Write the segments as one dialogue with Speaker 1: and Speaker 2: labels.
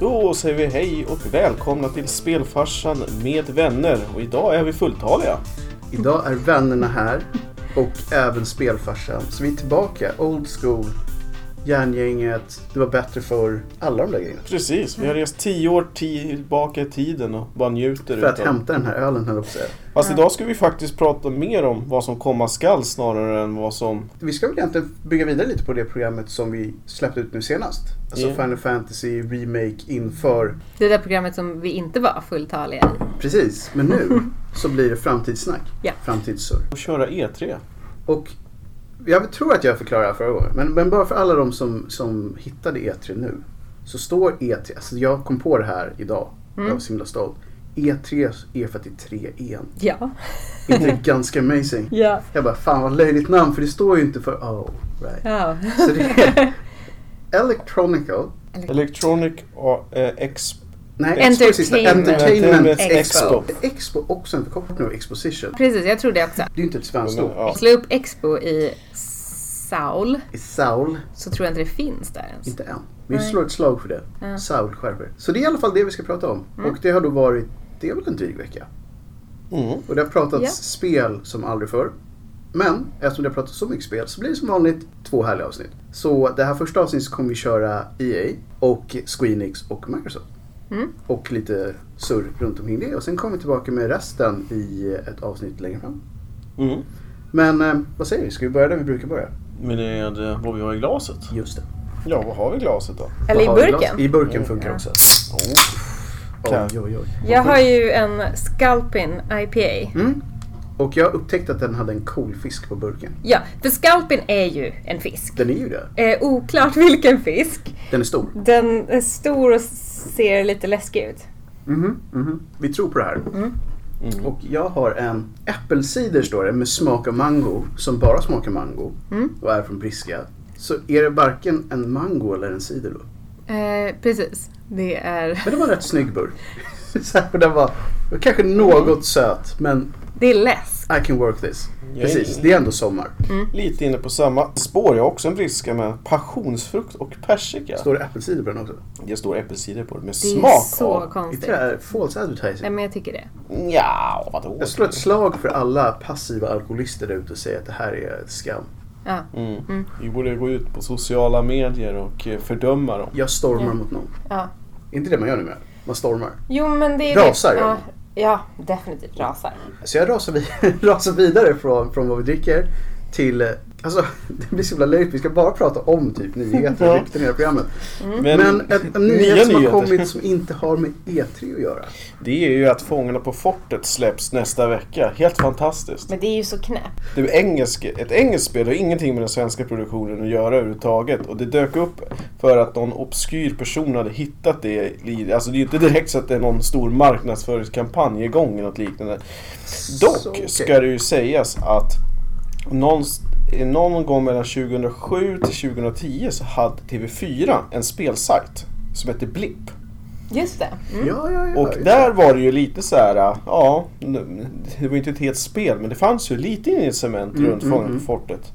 Speaker 1: Då säger vi hej och välkomna till Spelfarsan med vänner. Och idag är vi fulltaliga.
Speaker 2: Idag är vännerna här och även spelfarsan. Så vi är tillbaka, old school, järngänget, det var bättre för alla de där grejerna.
Speaker 1: Precis, vi har rest tio år tillbaka i tiden och bara njuter
Speaker 2: För att
Speaker 1: utav-
Speaker 2: hämta den här ölen höll jag på att säga.
Speaker 1: Fast idag ska vi faktiskt prata mer om vad som komma skall snarare än vad som...
Speaker 2: Vi ska väl egentligen bygga vidare lite på det programmet som vi släppte ut nu senast. Alltså
Speaker 1: Ja.
Speaker 2: Final Fantasy Remake inför.
Speaker 3: Det där programmet som vi inte var fulltaliga i.
Speaker 2: Precis, men nu så blir det framtidssnack.
Speaker 3: Ja.
Speaker 2: Framtidssurr.
Speaker 1: Att köra E E3.
Speaker 2: Och jag tror att jag förklarade det här förra gången, men, men bara för alla de som, som hittade E3 nu. Så står E3, alltså jag kom på det här idag, jag var så himla stolt. E E3 är för att det är tre E en.
Speaker 3: Ja.
Speaker 2: Inte det ganska amazing?
Speaker 3: Ja.
Speaker 2: Jag bara, fan vad löjligt namn för det står ju inte för oh, right.
Speaker 3: ja.
Speaker 2: Så det är Electronical,
Speaker 1: Electronic eh, Ex...
Speaker 2: nej
Speaker 3: Entertainment.
Speaker 2: Expo sista, Entertainment
Speaker 1: Entertainment
Speaker 2: Expo.
Speaker 1: Expo.
Speaker 2: Expo också en förkortning av Exposition.
Speaker 3: Precis, jag tror det också.
Speaker 2: Det är ju inte ett svenskt ord.
Speaker 1: Ja.
Speaker 3: Slå upp Expo i Saul
Speaker 2: I Saul
Speaker 3: så tror jag inte det finns där ens.
Speaker 2: Inte än. Men vi slår ett slag för det.
Speaker 3: Ja. Mm.
Speaker 2: Saul skärper. Så det är i alla fall det vi ska prata om. Och det har då varit, det är väl en dryg vecka.
Speaker 1: Mm.
Speaker 2: Och det har pratats
Speaker 3: Ja.
Speaker 2: spel som aldrig förr. Men eftersom det har pratats så mycket spel så blir det som vanligt två härliga avsnitt. Så det här första avsnittet så kommer vi köra EA och Squeenix och Microsoft.
Speaker 3: Mm.
Speaker 2: Och lite surr runt omkring det. Och sen kommer vi tillbaka med resten i ett avsnitt längre fram.
Speaker 1: Mm.
Speaker 2: Men eh, vad säger vi? Ska vi börja där vi brukar börja?
Speaker 1: Med eh, vad vi har i glaset.
Speaker 2: Just det.
Speaker 1: Ja, vad har vi i glaset då? Oh.
Speaker 3: Eller i
Speaker 2: Vad har vi glas?
Speaker 3: burken.
Speaker 2: I burken funkar också.
Speaker 1: Kan-
Speaker 2: Oj, oj, oj.
Speaker 3: Jag har ju en Sculpin IPA.
Speaker 2: Mm. Och jag upptäckte att den hade en cool fisk på burken.
Speaker 3: Ja, för Sculpin är ju en fisk.
Speaker 2: Den är ju det.
Speaker 3: Eh, oklart vilken fisk.
Speaker 2: Den är stor.
Speaker 3: Den är stor och ser lite läskig ut. Mm-hmm.
Speaker 2: Mhm, mhm. Vi tror på det här.
Speaker 1: Mm.
Speaker 2: Och jag har en äppelcider står det med smak av mango som bara smakar mango
Speaker 3: Mm.
Speaker 2: och är från Briska. Så är det varken en mango eller en cider då.
Speaker 3: Eh, precis. Det är,
Speaker 2: Men det var en rätt snygg burk. Så här, den var det var kanske något
Speaker 3: Mm.
Speaker 2: söt men
Speaker 3: det är läsk.
Speaker 2: I can work this.
Speaker 1: Jag är
Speaker 2: Precis, det är ändå sommar.
Speaker 1: lite inne på samma spår. Jag har också en briska med passionsfrukt och persika.
Speaker 2: Står det äppelcider på den också?
Speaker 1: Det står äppelcider på det med
Speaker 3: Det är
Speaker 1: smak
Speaker 3: så
Speaker 1: av.
Speaker 2: Det
Speaker 3: konstigt.
Speaker 2: tror jag är false advertising.
Speaker 3: Nej men jag tycker det.
Speaker 1: Ja, vadå?
Speaker 2: Jag slår ett slag för alla passiva alkoholister där ute och säger att det här är skam.
Speaker 3: Ja.
Speaker 1: Mm. Vi borde gå ut på sociala medier och eh, fördöma dem.
Speaker 2: Jag stormar mot någon.
Speaker 3: ja.
Speaker 2: inte det man gör nu med. Man stormar.
Speaker 3: Jo men det är
Speaker 2: Rasar
Speaker 3: det.
Speaker 2: gör
Speaker 3: Ja, ja, definitivt rasar.
Speaker 2: Så jag rasar, vid, rasar vidare från, från vad vi dricker till... eh, Alltså, det blir så jävla löjligt. Vi ska bara prata om typ nyheter och
Speaker 1: Ja.
Speaker 2: rykten i det här programmet.
Speaker 1: Men,
Speaker 2: Men en, en
Speaker 1: nya
Speaker 2: nyhet som har
Speaker 1: nyheter.
Speaker 2: kommit som inte har med E3 att göra.
Speaker 1: Det är ju att Fångarna på fortet släpps nästa vecka. Helt fantastiskt.
Speaker 3: Men det är ju så knäppt.
Speaker 1: Det är engelsk, ett engelskt spel har ingenting med den svenska produktionen att göra överhuvudtaget. Och det dök upp för att någon obskyr person hade hittat det. i- Alltså det är ju inte direkt så att det är någon stor marknadsföringskampanj igång eller något liknande. Dock
Speaker 2: Så, okej.
Speaker 1: ska det ju sägas att någonst- någon gång mellan 2007 till 2010 så hade TV4 en spelsajt som hette Blipp.
Speaker 3: Just det. Mm.
Speaker 2: Ja, ja, ja.
Speaker 1: Och
Speaker 2: ja.
Speaker 1: där var det ju lite så här, äh, ja, det var ju inte ett helt spel men det fanns ju lite incitament
Speaker 2: Mm,
Speaker 1: runt
Speaker 2: mm,
Speaker 1: Fångarna
Speaker 2: mm.
Speaker 1: på fortet.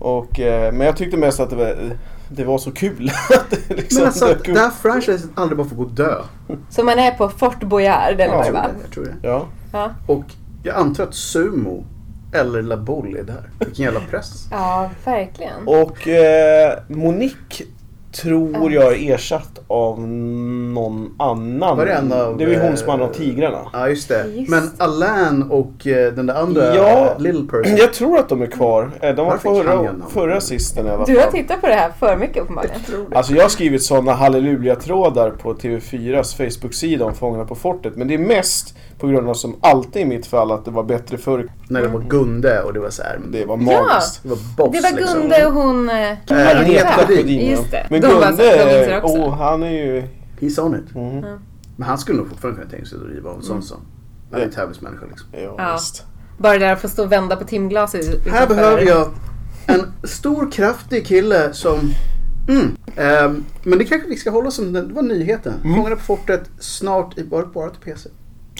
Speaker 1: Och, eh, men jag tyckte mest att det var, eh, det var så kul att det liksom
Speaker 2: Men alltså, att
Speaker 1: dök upp.
Speaker 2: det här franchiset aldrig bara får gå och dö.
Speaker 3: Så man är på Fort Boyard eller
Speaker 1: Ja,
Speaker 3: vad det
Speaker 2: Jag tror
Speaker 3: var.
Speaker 2: det, jag tror det.
Speaker 1: Ja,
Speaker 3: Ja.
Speaker 2: Och jag antar att Sumo eller La Boll är där. Vilken jävla press.
Speaker 3: ja, verkligen.
Speaker 1: och eh, Monique tror jag är ersatt av någon annan.
Speaker 2: Var det en av,
Speaker 1: det var ju hon som hade
Speaker 2: eh,
Speaker 1: de tigrarna.
Speaker 2: Ja, just det.
Speaker 3: Just
Speaker 2: Men Alain och eh, den där andra
Speaker 1: Ja.
Speaker 2: Little Person.
Speaker 1: Jag tror att de är kvar. Eh, De var
Speaker 2: Varför kan jag
Speaker 1: förra,
Speaker 2: namn?
Speaker 1: förra sisten i alla fall.
Speaker 3: Du har tittat på det här för mycket uppenbarligen.
Speaker 1: Alltså jag har skrivit sådana halleluja-trådar på TV4s Facebook-sida om Fångarna på fortet. Men det är mest på grund av som alltid i mitt fall att det var bättre förr.
Speaker 2: När det var Gunde och det var så här.
Speaker 1: Det var magiskt.
Speaker 2: Det var boss
Speaker 3: Det var
Speaker 2: liksom.
Speaker 3: Gunde och hon... eh,
Speaker 2: Äh,
Speaker 1: Han
Speaker 2: Agneta
Speaker 1: heter
Speaker 3: Hedin.
Speaker 1: Hedin, ja.
Speaker 3: Just det.
Speaker 1: Men
Speaker 3: De var så- de minns
Speaker 1: Gunde,
Speaker 3: det också.
Speaker 1: oh, han är ju...
Speaker 2: He's on it.
Speaker 1: Mm,
Speaker 2: Men han skulle nog fortfarande kunna tänka sig att driva en
Speaker 3: Mm.
Speaker 2: sån som. Han är en tävlingsmänniska liksom.
Speaker 1: ja,
Speaker 3: Ja.
Speaker 1: Visst.
Speaker 3: Bara det där att få stå och vända på timglaset
Speaker 2: Här
Speaker 3: utanför.
Speaker 2: behöver jag en stor kraftig kille som... Mm. Ehm, men det kanske vi ska hålla som den, det var nyheten.
Speaker 1: Mm.
Speaker 2: Fångarna på fortet snart i bara, bara till PC.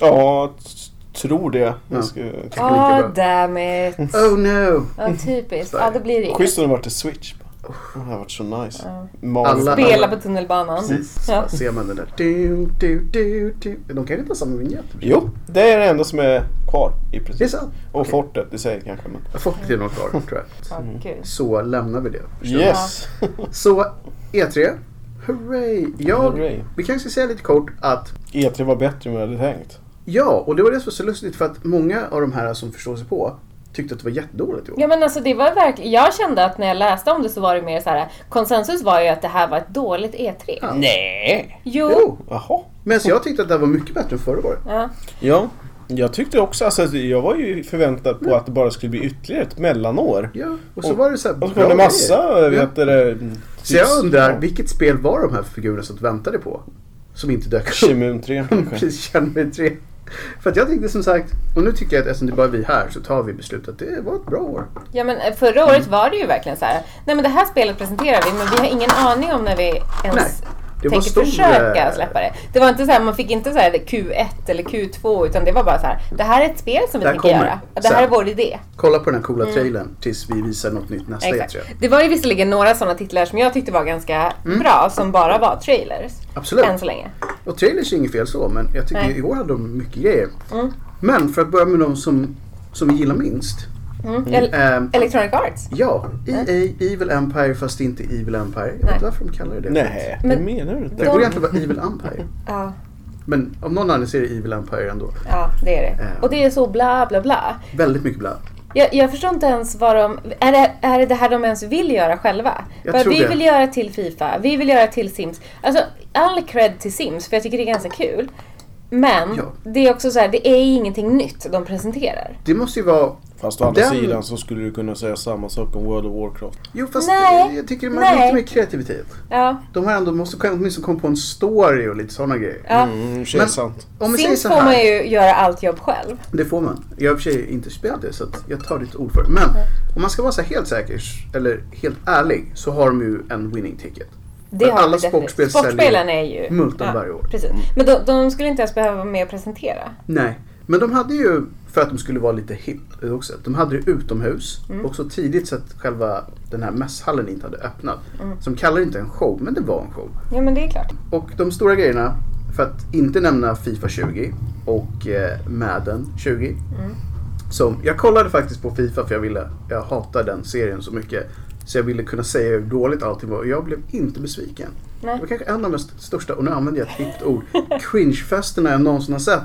Speaker 1: Ja, t- tror det.
Speaker 2: Ja.
Speaker 1: Jag ska...
Speaker 3: Ah, damn it.
Speaker 2: Oh no!
Speaker 3: Ja, typiskt. Ja, det blir det.
Speaker 1: Schysst om det var till Switch. Det här har varit så nice.
Speaker 4: Ja.
Speaker 1: Malet-
Speaker 2: Alla-
Speaker 4: Spela på tunnelbanan.
Speaker 2: Precis, så
Speaker 4: Ja.
Speaker 2: bara ser man den där. Du, du, du, du. De kan ju inte ha samma vinjett.
Speaker 1: Jo, det är det enda som är kvar i princip.
Speaker 2: Det är sant.
Speaker 1: Och
Speaker 2: Okej.
Speaker 1: fortet i sig kanske. Men...
Speaker 2: Folk är nog kvar tror jag.
Speaker 4: Ja, gud.
Speaker 2: Så lämnar vi det.
Speaker 1: Yes!
Speaker 2: Så E3. Hurray! Jag,
Speaker 1: Hurray.
Speaker 2: Vi kanske ska säga lite kort att
Speaker 1: E3 E var bättre än vad jag hade tänkt.
Speaker 2: ja, och det var det som var så lustigt för att många av de här som förstår sig på tyckte att det var jättedåligt i år.
Speaker 4: Ja men alltså det var verkligen, jag kände att när jag läste om det så var det mer så här. konsensus var ju att det här var ett dåligt E3.
Speaker 2: Ja.
Speaker 1: Nej!
Speaker 4: Jo.
Speaker 2: Jo,
Speaker 1: Jaha.
Speaker 2: men så jag tyckte att det här var mycket bättre än förra året.
Speaker 4: Ja.
Speaker 1: Ja, jag tyckte också, alltså jag var ju förväntad på att det bara skulle bli ytterligare ett mellanår.
Speaker 2: Mm. Ja, och så var det så här
Speaker 1: Och så kom det
Speaker 2: bra
Speaker 1: massa,
Speaker 2: grejer.
Speaker 1: vet du det, mm,
Speaker 2: Så jag
Speaker 1: tips-
Speaker 2: undrar,
Speaker 1: ja,
Speaker 2: vilket spel var de här figurerna som du väntade på? Som inte dök upp?
Speaker 1: Kimun 3 kanske.
Speaker 2: Mm, Precis, Shenmue 3. För att jag tänkte som sagt, och nu tycker jag att eftersom det bara är vi här så tar vi beslutet att det var ett bra år.
Speaker 4: ja men eh, förra året var det ju verkligen så här. nej men det här spelet presenterar vi men vi har ingen aning om när vi ens
Speaker 2: Nej, Det var
Speaker 4: tänker
Speaker 2: stor,
Speaker 4: försöka
Speaker 2: eh,
Speaker 4: släppa det. Det var inte så här, man fick inte så här Q1 eller Q2 utan det var bara så här. det här är ett spel som vi
Speaker 2: Det här
Speaker 4: tänker
Speaker 2: kommer.
Speaker 4: göra. Det
Speaker 2: Så
Speaker 4: här
Speaker 2: här.
Speaker 4: är vår idé.
Speaker 2: Kolla på den här coola trailern tills vi visar något nytt nästa
Speaker 4: Mm.
Speaker 2: E
Speaker 4: Exakt.
Speaker 2: E3.
Speaker 4: Det var ju visserligen några sådana titlar som jag tyckte var ganska bra som bara var trailers.
Speaker 2: Mm. Absolut.
Speaker 4: Än så länge.
Speaker 2: Och trailers är inget fel så, men jag tycker
Speaker 4: Nej.
Speaker 2: i år hade de mycket grejer. Men för att börja med de som, som vi gillar minst.
Speaker 4: Mm. El-
Speaker 2: Ehm,
Speaker 4: Electronic Arts.
Speaker 2: ja, EA, Evil Empire fast inte Evil Empire. Jag vet
Speaker 4: Mm. Nej.
Speaker 2: inte varför de kallar det det.
Speaker 1: Nej, det
Speaker 4: Men-
Speaker 1: menar du inte?
Speaker 2: Det borde egentligen vara Evil Empire.
Speaker 4: Ja,
Speaker 2: Men av någon anledning så är det Evil Empire ändå.
Speaker 4: ja, det är det.
Speaker 2: Eh.
Speaker 4: Och det är så bla bla bla.
Speaker 2: Väldigt mycket blä.
Speaker 4: Jag, jag förstår inte ens vad de... Är det, är det det här de ens vill göra själva?
Speaker 2: Jag
Speaker 4: Bara,
Speaker 2: tror
Speaker 4: vi
Speaker 2: det.
Speaker 4: vill göra till Fifa, vi vill göra till Sims. Alltså, all cred till Sims, för jag tycker det är ganska kul. Men
Speaker 2: Ja.
Speaker 4: det är också så här, det är ingenting nytt de presenterar.
Speaker 2: Det måste ju vara...
Speaker 1: Fast å andra
Speaker 2: Den-
Speaker 1: sidan så skulle du kunna säga samma sak om World of Warcraft.
Speaker 2: Jo fast
Speaker 4: Nej.
Speaker 2: jag tycker man
Speaker 4: Nej.
Speaker 2: har lite mer kreativitet.
Speaker 4: Ja,
Speaker 2: De här ändå måste åtminstone komma på en story och lite sådana grejer.
Speaker 4: ja.
Speaker 1: Mm, tjej,
Speaker 2: Men-
Speaker 1: sant.
Speaker 2: Om vi säger
Speaker 4: Sims
Speaker 2: så
Speaker 4: får man
Speaker 2: här,
Speaker 4: ju göra allt jobb själv.
Speaker 2: det får man. Jag har i och för sig inte spelat det så att jag tar ditt ord för det. Men
Speaker 4: Mm.
Speaker 2: om man ska vara så här helt säker, eller helt ärlig, så har de ju en winning ticket.
Speaker 4: Det
Speaker 2: Men
Speaker 4: har vi
Speaker 2: alla
Speaker 4: definitivt.
Speaker 2: sportspel säljer
Speaker 4: Sportspelen är ju...
Speaker 2: multum varje år. Mm.
Speaker 4: Precis. Men de, de skulle inte ens behöva vara med och presentera.
Speaker 2: Nej, men de hade ju, för att de skulle vara lite hip också, de hade det utomhus.
Speaker 4: Mm.
Speaker 2: Också tidigt så att själva den här mässhallen inte hade öppnat.
Speaker 4: Mm.
Speaker 2: Som kallar det inte en show, men det var en show.
Speaker 4: Ja, men det är klart.
Speaker 2: Och de stora grejerna, för att inte nämna Fifa 20 och eh, Madden 20. Som, jag kollade faktiskt på Fifa för jag ville, jag hatar den serien så mycket. Så jag ville kunna säga hur dåligt allting var och jag blev inte besviken.
Speaker 4: Nej.
Speaker 2: Det var kanske en av de mest största, och nu använder jag ett hippt ord, cringefesterna jag någonsin har sett.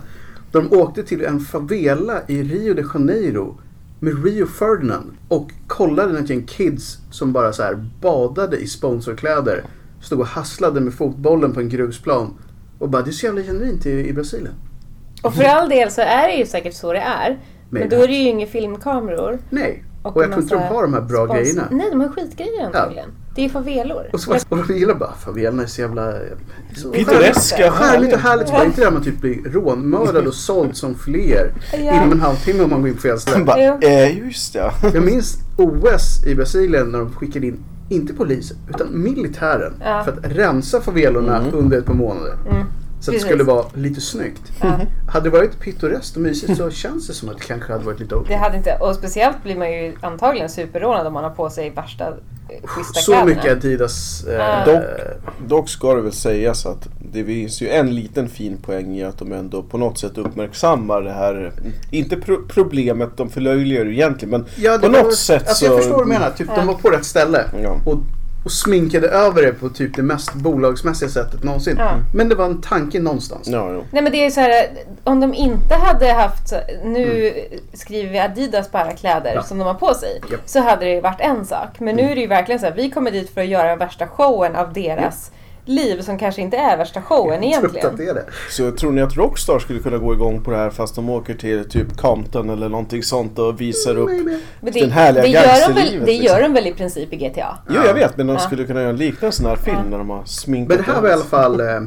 Speaker 2: De åkte till en favela i Rio de Janeiro med Rio Ferdinand och kollade när ett gäng kids som bara så här badade i sponsorkläder stod och hasslade med fotbollen på en grusplan och bara det är så jävla genuint i, i Brasilien.
Speaker 4: Och för all del så är det ju säkert så det är. Men då är det ju inga filmkameror.
Speaker 2: Nej, och,
Speaker 4: Och
Speaker 2: jag tror inte de
Speaker 4: massa
Speaker 2: har de här bra
Speaker 4: spons-
Speaker 2: grejerna.
Speaker 4: Nej, de har skitgrejer antagligen. Det är favelor.
Speaker 2: Och, så, och de gillar bara favelerna är så jävla... Så
Speaker 1: Pittoreska.
Speaker 2: Härligt och härligt. Bara inte det här med att typ bli rånmördad och såld som fler inom en halvtimme om man går in på fel ställe.
Speaker 1: Bara,
Speaker 4: Jo.
Speaker 1: eh, just det.
Speaker 2: Jag minns OS i Brasilien när de skickade in, inte polis, utan militären
Speaker 4: Ja. Mm.
Speaker 2: för att rensa favelorna
Speaker 1: Mm.
Speaker 2: under ett par månader. Så att det
Speaker 4: Precis.
Speaker 2: skulle vara lite snyggt. Hade det varit pittoreskt och mysigt så känns det som att det kanske hade varit lite okej.
Speaker 4: Det hade inte, och speciellt blir man ju antagligen superrånad om man har på sig värsta eh, schyssta
Speaker 2: Så
Speaker 4: kläderna.
Speaker 2: mycket Adidas... Eh,
Speaker 1: Dock, dock ska det väl sägas att det finns ju en liten fin poäng i att de ändå på något sätt uppmärksammar det här. Inte pro- problemet, de förlöjligar ju egentligen men
Speaker 2: Ja,
Speaker 1: på
Speaker 2: var-
Speaker 1: något sätt
Speaker 2: alltså,
Speaker 1: så...
Speaker 2: Jag förstår vad du menar. Typ, De var på rätt ställe
Speaker 1: Ja.
Speaker 2: och, och sminkade över det på typ det mest bolagsmässiga sättet någonsin. Mm.
Speaker 4: Ja.
Speaker 2: Men det var en tanke någonstans.
Speaker 1: Ja, jo.
Speaker 4: Nej men det är ju så här, om de inte hade haft, så- nu skriver vi Adidas på alla kläder
Speaker 2: Mm. Ja.
Speaker 4: som de har på sig,
Speaker 2: Japp. Mm.
Speaker 4: så hade det ju varit en sak. Men nu är det ju verkligen så här, vi kommer dit för att göra värsta showen av deras liv som kanske inte är värsta showen
Speaker 2: Tror inte att
Speaker 4: egentligen.
Speaker 2: det är det.
Speaker 1: Så tror ni att Rockstar skulle kunna gå igång på det här fast de åker till typ Compton eller någonting sånt och visar upp...
Speaker 2: Maybe.
Speaker 4: Men
Speaker 1: Den härliga
Speaker 4: det, gör de väl,
Speaker 1: gangsterlivet,
Speaker 4: det
Speaker 1: liksom.
Speaker 4: gör de väl i princip i GTA?
Speaker 1: Jo jag vet men de
Speaker 4: Ja.
Speaker 1: skulle kunna göra en liknande sån här film när de har sminkat
Speaker 2: Men det här var i
Speaker 1: allt.
Speaker 2: alla fall eh,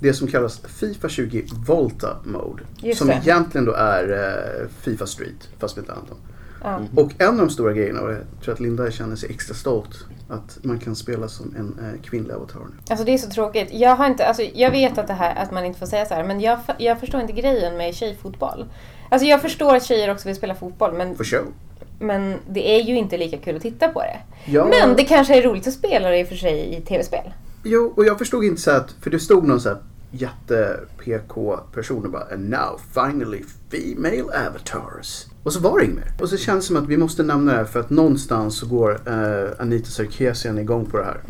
Speaker 2: det som kallas Fifa 20 Volta Mode.
Speaker 4: Just
Speaker 2: som
Speaker 4: det.
Speaker 2: egentligen då är eh, Fifa Street, fast med ett annat namn.
Speaker 4: Ja.
Speaker 1: Mhm.
Speaker 2: Och en av de stora grejerna, och jag tror att Linda känner sig extra stolt, att man kan spela som en eh, kvinnlig avatar nu.
Speaker 4: Alltså det är så tråkigt. Jag, har inte, alltså, jag vet att, det här, att man inte får säga så här, men jag, f- jag förstår inte grejen med tjejfotboll. Alltså jag förstår att tjejer också vill spela fotboll, men,
Speaker 2: För show.
Speaker 4: men det är ju inte lika kul att titta på det.
Speaker 2: Ja.
Speaker 4: Men det kanske är roligt att spela det i och för sig i tv-spel.
Speaker 2: Jo, och jag förstod inte så att, för det stod någon så här jätte-PK-person och bara And now finally female avatars. Och så var det inget mer. Och så känns det som att vi måste nämna det här för att någonstans så går eh, Anita Sarkeesian igång på det här.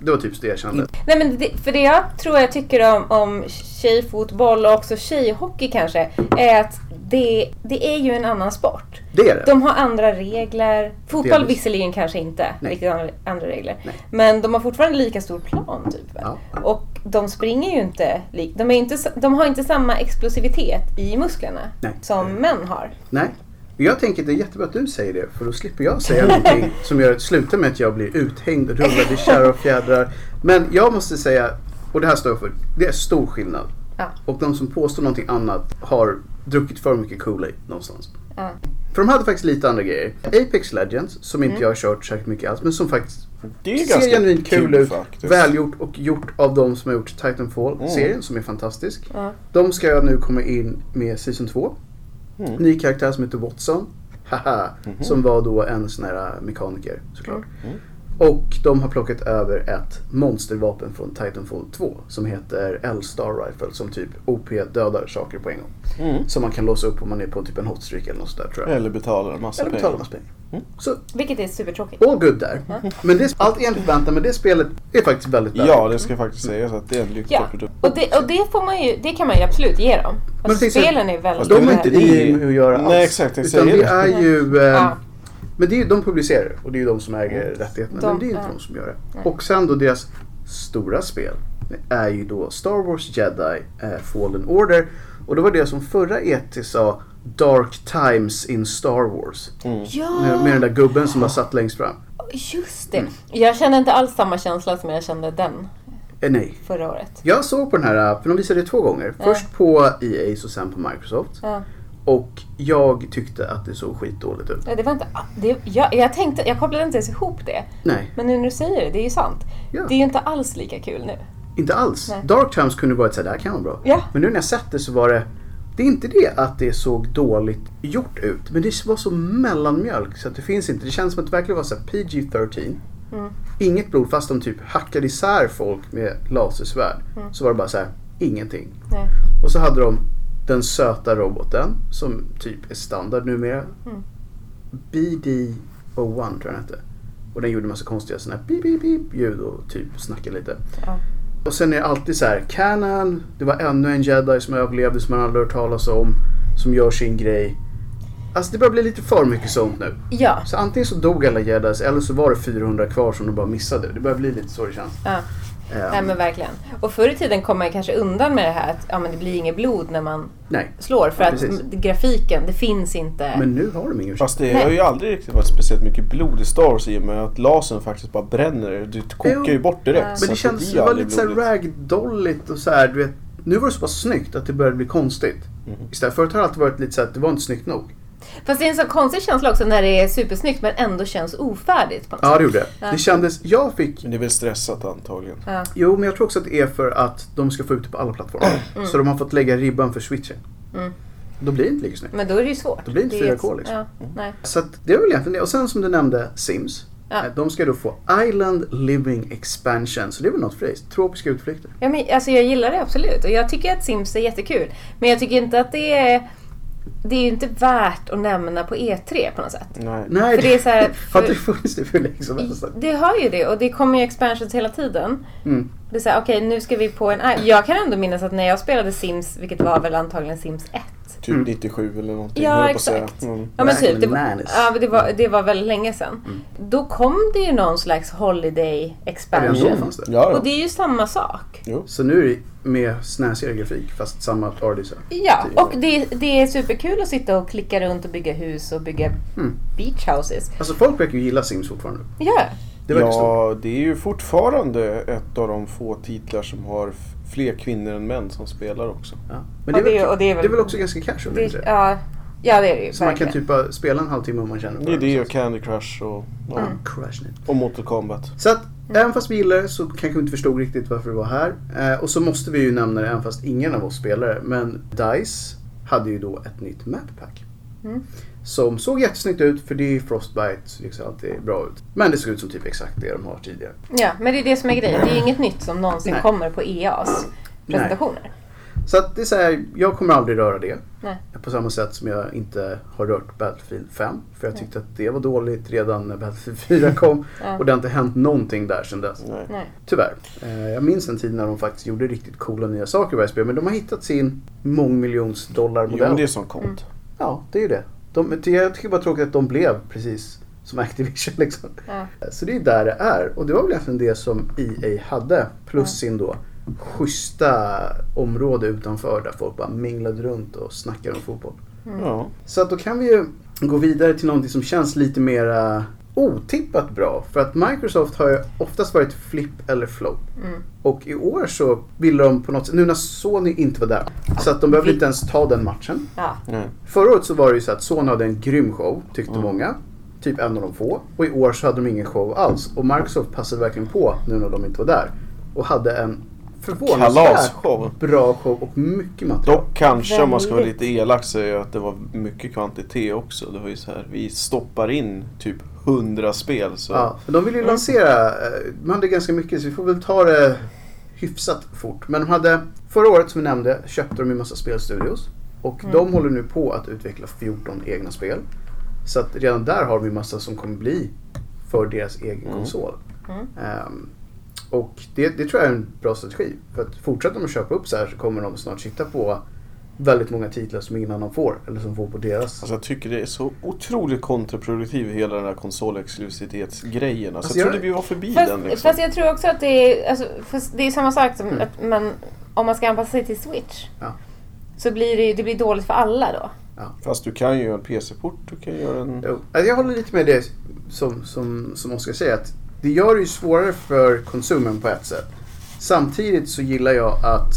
Speaker 2: Det var typ det jag kände.
Speaker 4: Nej men det, för det jag tror jag tycker om, om tjejfotboll och också tjejhockey kanske, är att det, det är ju en annan sport.
Speaker 2: Det är det.
Speaker 4: De har andra regler. Fotboll
Speaker 2: Delvis.
Speaker 4: visserligen kanske inte
Speaker 2: Nej.
Speaker 4: riktigt andra, andra regler.
Speaker 2: Nej.
Speaker 4: Men de har fortfarande lika stor plan typ.
Speaker 2: Ja.
Speaker 4: Och de springer ju inte, li- de, är inte, s- de har inte samma explosivitet i musklerna
Speaker 2: Nej.
Speaker 4: som män har.
Speaker 2: Nej. Men Jag tänker att det är jättebra att du säger det för då slipper jag säga någonting som gör att sluta med att jag blir uthängd och rullad i kärror och fjädrar. Men jag måste säga, och det här står jag för, det är stor skillnad.
Speaker 4: Ja.
Speaker 2: Och de som påstår någonting annat har druckit för mycket Kool-Aid någonstans.
Speaker 4: Ja.
Speaker 2: För de hade faktiskt lite andra grejer. Apex Legends, som
Speaker 4: Mm.
Speaker 2: inte jag har kört särskilt mycket alls, men som faktiskt
Speaker 1: Det är
Speaker 2: ser
Speaker 1: ganska
Speaker 2: genuint kul, ut.
Speaker 1: faktiskt. Mm.
Speaker 2: Välgjort och gjort av de som har gjort Titanfall-serien som är fantastisk. De ska jag nu komma in med Season 2. Ny karaktär som heter Watson. Haha, som var då en sån här äh, mekaniker såklart. Och de har plockat över ett monstervapen från Titanfall 2 som heter L-Star Rifle som typ OP dödar saker på en gång.
Speaker 1: Mm.
Speaker 2: Som man kan låsa upp om man är på typ en hotstreak eller något sånt där tror jag.
Speaker 1: Eller betalar en massa
Speaker 2: Eller betalar
Speaker 1: pengar.
Speaker 2: massa pengar. Så
Speaker 4: Vilket är supertråkigt.
Speaker 2: all good där. Men det, allt enligt väntan men det spelet är faktiskt väldigt bra.
Speaker 1: Ja, det ska faktiskt sägas att det är en lyckad
Speaker 4: Ja.
Speaker 1: produkt.
Speaker 4: Och, det, och det, får man ju, det kan man ju absolut ge dem. Alltså,
Speaker 2: precis,
Speaker 4: spelen är väldigt
Speaker 1: fast
Speaker 2: De har inte
Speaker 1: Det är-
Speaker 2: det med att göra alls.
Speaker 1: Nej, exakt, jag
Speaker 2: Utan
Speaker 1: säger
Speaker 2: det
Speaker 1: det.
Speaker 2: är ju... Eh,
Speaker 4: Ja. Mm.
Speaker 2: Men det är ju, de publicerar det, och det är ju de som äger rättigheterna.
Speaker 4: De-
Speaker 2: men det är ju inte
Speaker 4: ja.
Speaker 2: de som gör det. Och sen då deras stora spel är ju då Star Wars Jedi eh, Fallen Order. Och det var det som förra ET sa Dark Times in Star Wars.
Speaker 4: Ja,
Speaker 2: Med, med den där gubben som bara satt längst fram.
Speaker 4: just
Speaker 2: Mm.
Speaker 4: det. Jag kände inte alls samma känsla som jag kände den
Speaker 2: Eh, nej.
Speaker 4: förra året.
Speaker 2: Jag såg på den här, för de visade det två gånger. Först på EA och sen på Microsoft.
Speaker 4: Ja.
Speaker 2: Och jag tyckte att det såg skitdåligt ut.
Speaker 4: Ja, Det var inte, det, jag, jag, tänkte, jag kopplade inte ens ihop det.
Speaker 2: Nej.
Speaker 4: Men nu när du säger det, det är ju sant.
Speaker 2: Ja.
Speaker 4: Det är ju inte alls lika kul nu.
Speaker 2: Inte alls.
Speaker 4: Nej.
Speaker 2: Dark Times kunde varit såhär, det här kan vara bra.
Speaker 4: Ja.
Speaker 2: Men nu när jag sett det så var det, det är inte det att det såg dåligt gjort ut. Men det var så mellanmjölk så att det finns inte. Det känns som att det verkligen var såhär PG-13.
Speaker 4: Mm.
Speaker 2: Inget blod fast de typ hackade isär folk med lasersvärd.
Speaker 4: Mm.
Speaker 2: Så var det bara så här: ingenting.
Speaker 4: Nej.
Speaker 2: Och så hade de den söta roboten som typ är standard numera.
Speaker 4: Mm.
Speaker 2: BD-01 tror jag den hette. Och den gjorde massa konstiga sådana här beep, beep, beep ljud och typ snackade lite.
Speaker 4: Ja.
Speaker 2: Och sen är det alltid så här, Canon, det var ännu en jedi som överlevde som man aldrig hört talas om. Som gör sin grej. Alltså det börjar bli lite för mycket sånt nu.
Speaker 4: Ja.
Speaker 2: Så antingen så dog alla jedis eller så var det 400 kvar som de bara missade. Det börjar bli lite så det känns.
Speaker 4: ja.
Speaker 2: Ehm,
Speaker 4: Nej men verkligen. Och förr i tiden kom man kanske undan med det här att ja, men det blir inget blod när man
Speaker 2: nej.
Speaker 4: slår. För
Speaker 2: Ja,
Speaker 4: att
Speaker 2: precis.
Speaker 4: m- grafiken, det finns inte.
Speaker 2: Men nu har de ingen ursäkt.
Speaker 1: Fast det
Speaker 4: Nej.
Speaker 1: har ju aldrig riktigt varit speciellt mycket blod i Star Wars i och med att lasern faktiskt bara bränner. Du kokar ju bort direkt. så
Speaker 2: Men det
Speaker 1: att
Speaker 2: kändes
Speaker 1: blir
Speaker 2: det var
Speaker 1: aldrig
Speaker 2: lite såhär
Speaker 1: blodigt.
Speaker 2: ragdolligt och såhär du vet. Nu var det så pass snyggt att det började bli konstigt. Istället förut har det alltid varit lite såhär att det var inte snyggt nog.
Speaker 4: Fast det är en sån konstig känsla också när det är supersnyggt men ändå känns ofärdigt på något
Speaker 2: Ja
Speaker 4: sätt.
Speaker 2: det gjorde det. Det kändes, jag fick,
Speaker 1: Men det är väl stressat antagligen.
Speaker 2: jo men jag tror också att det är för att de ska få ut det på alla plattformar.
Speaker 4: Mm.
Speaker 2: Så de har fått lägga ribban för switchen. Då blir det inte lika snyggt.
Speaker 4: Men då är det ju svårt.
Speaker 2: Det blir inte
Speaker 4: är ju
Speaker 2: 4K
Speaker 4: ett-
Speaker 2: liksom.
Speaker 4: Ja, nej.
Speaker 2: Så att det är väl egentligen det. Och sen som du nämnde Sims.
Speaker 4: Ja.
Speaker 2: Eh, De ska då få Island Living Expansion. Så det är väl något för dig? Tropiska utflykter.
Speaker 4: Ja, men, alltså, jag gillar det absolut och jag tycker att Sims är jättekul. Men jag tycker inte att det är... Det är ju inte värt att nämna på E3 på något sätt.
Speaker 1: Nej.
Speaker 2: Nej,
Speaker 4: För det är så här-
Speaker 2: har inte funnits det liksom? Alltså, för länge som helst.
Speaker 4: Det har ju det och det kommer ju expansions hela tiden.
Speaker 2: mm.
Speaker 4: Det är såhär, okej nu ska vi på en i- Jag kan ändå minnas att när jag spelade Sims, vilket var väl antagligen Sims 1.
Speaker 1: Typ
Speaker 2: Mm.
Speaker 1: 97 eller någonting. höll
Speaker 4: Ja
Speaker 1: jag på att säga.
Speaker 4: exakt.
Speaker 1: Mm.
Speaker 4: Ja men typ, det var,
Speaker 2: Magnanimous.
Speaker 4: ja, men det, var,
Speaker 2: Mm.
Speaker 4: det var väldigt länge sedan. Då kom det ju någon slags Holiday
Speaker 2: Redan
Speaker 4: expansion.
Speaker 2: då fanns det.
Speaker 1: Ja,
Speaker 4: Och det
Speaker 1: ja.
Speaker 4: är ju samma sak.
Speaker 1: Jo.
Speaker 2: Så nu är det med snäsigare grafik fast samma Ardisa.
Speaker 4: Ja, och det, det är superkul att sitta och klicka runt och bygga hus och bygga
Speaker 2: Mm.
Speaker 4: beach houses.
Speaker 2: Alltså folk verkar ju gilla Sims fortfarande.
Speaker 4: Ja,
Speaker 2: Det verkar så.
Speaker 1: ja, det är ju fortfarande ett av de få titlar som har f- fler kvinnor än män som spelar också.
Speaker 2: Ja. Men det är,
Speaker 4: Och det-
Speaker 2: väl,
Speaker 4: och
Speaker 2: det, är väl, också
Speaker 4: väl-
Speaker 2: ganska casual.
Speaker 4: det,
Speaker 2: Det, ja,
Speaker 4: ja, ja det är det ju.
Speaker 2: så man kan
Speaker 4: verkligen.
Speaker 2: typ bara spela en halvtimme om man känner för
Speaker 1: Det är det och
Speaker 2: någonstans.
Speaker 1: Candy Crush och, ja,
Speaker 4: Mm.
Speaker 2: Crash Net.
Speaker 1: och Mortal Kombat.
Speaker 2: Så att även fast vi gillar det så kanske vi inte förstod riktigt varför det var här. Eh, och så måste vi ju nämna det även fast ingen av oss spelare. Men DICE hade ju då ett nytt map pack.
Speaker 3: Mm.
Speaker 2: Som såg jättesnyggt ut för det är Frostbite, så det ser alltid bra ut. Men det såg ut som typ exakt det de har tidigare.
Speaker 3: Ja, men det är det som är grejen. Det är inget nytt som någonsin
Speaker 2: typ- Nej.
Speaker 3: kommer på
Speaker 4: E
Speaker 3: EAs presentationer.
Speaker 2: Så att det är så här, jag kommer aldrig röra det.
Speaker 3: Nej.
Speaker 2: På samma sätt som jag inte har rört Battlefield 5. För jag tyckte att det var dåligt redan när Battlefield 4 kom.
Speaker 3: Ja.
Speaker 2: Och det har inte hänt någonting där sedan dess.
Speaker 1: Nej.
Speaker 3: Nej.
Speaker 2: Tyvärr. Eh, Jag minns en tid när de faktiskt gjorde riktigt coola nya saker i varje spel. Men de har hittat sin
Speaker 1: Jo, men
Speaker 2: mångmiljonsdollarmodell.
Speaker 1: det är som coolt.
Speaker 2: Ja, det är ju det. De, jag tycker bara tråkigt att de blev precis som Activision liksom.
Speaker 3: Ja.
Speaker 2: Så det är där det är. Och det var väl egentligen det som EA hade. Plus sin då schyssta område utanför där folk bara minglade runt och snackade om fotboll.
Speaker 4: Mm.
Speaker 1: Ja.
Speaker 2: Så att då kan vi ju gå vidare till någonting som känns lite mera otippat bra. För att Microsoft har ju oftast varit flip eller flow.
Speaker 3: Mm.
Speaker 2: Och i år så ville de på något sätt, nu när Sony inte var där, så att de behövde inte ens ta den matchen.
Speaker 3: Ja.
Speaker 1: Nej.
Speaker 2: Förra året så var det ju så att Sony hade en grym show, tyckte många. Typ en av de få. Och i år så hade de ingen show alls. Och Microsoft passade verkligen på nu när de inte var där. Och hade en förvånansvärt
Speaker 1: Kalasshow.
Speaker 2: bra show och mycket material.
Speaker 1: Dock kanske om man ska vara
Speaker 3: Väldigt.
Speaker 1: lite elak säga att det var mycket kvantitet också. Det var ju så här, vi stoppar in typ 100 spel. Så.
Speaker 2: Ja, för de ville ju lansera, eh, de hade ganska mycket så vi får väl ta det hyfsat fort. Men de hade, förra året som vi nämnde, köpte de en massa spelstudios. Och de håller nu på att utveckla 14 egna spel. Så att redan där har vi massa som kommer bli för deras egen konsol.
Speaker 3: Mm.
Speaker 2: Ehm, och det, det tror jag är en bra strategi. För att fortsätter de att köpa upp så här så kommer de snart sitta på väldigt många titlar som ingen annan får. Eller som får på deras.
Speaker 1: Alltså jag tycker det är så otroligt kontraproduktiv hela den här konsolexklusivitetsgrejen. Alltså,
Speaker 2: Alltså,
Speaker 1: jag
Speaker 2: jag-
Speaker 1: trodde vi var förbi
Speaker 3: Fast,
Speaker 1: den liksom.
Speaker 3: fast jag tror också att det är, alltså, fast det är samma sak som att man, om man ska anpassa sig till Switch.
Speaker 2: Ja.
Speaker 3: Så blir det, ju- det blir dåligt för alla då.
Speaker 1: Fast du kan ju göra en PC-port, du kan göra en...
Speaker 2: Jo, alltså jag håller lite med det som, som, som Oskar säger. Att det gör det ju svårare för konsumen på ett sätt. Samtidigt så gillar jag att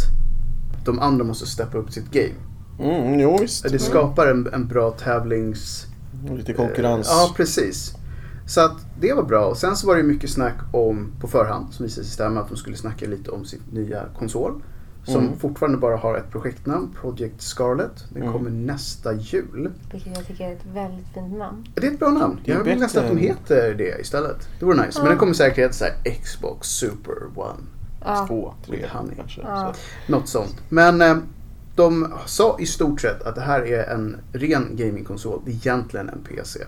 Speaker 2: de andra måste steppa upp sitt game.
Speaker 1: Mm, jo visst.
Speaker 2: Det skapar en, en bra tävlings... eh,
Speaker 1: Lite konkurrens.
Speaker 2: Ja, precis. Så att det var bra. Och sen så var det ju mycket snack om, på förhand, som visade sig stämma, att de skulle snacka lite om sin nya konsol. Som
Speaker 1: Mm.
Speaker 2: fortfarande bara har ett projektnamn, Project Scarlet. Den
Speaker 1: Mm.
Speaker 2: kommer nästa jul.
Speaker 3: Vilket jag tycker är ett väldigt fint namn.
Speaker 2: Det är ett bra namn.
Speaker 1: Det är
Speaker 2: Jag vill
Speaker 1: bättre
Speaker 2: nästan att de
Speaker 1: än-
Speaker 2: heter det istället. Det vore nice. Men den kommer säkert heta så här Xbox Super One.
Speaker 3: Ja.
Speaker 1: Två, tre
Speaker 2: Han är-
Speaker 1: kanske.
Speaker 3: Ja.
Speaker 1: Så.
Speaker 2: Något sånt. Men eh, de sa i stort sett att det här är en ren gamingkonsol. Det är egentligen en PC.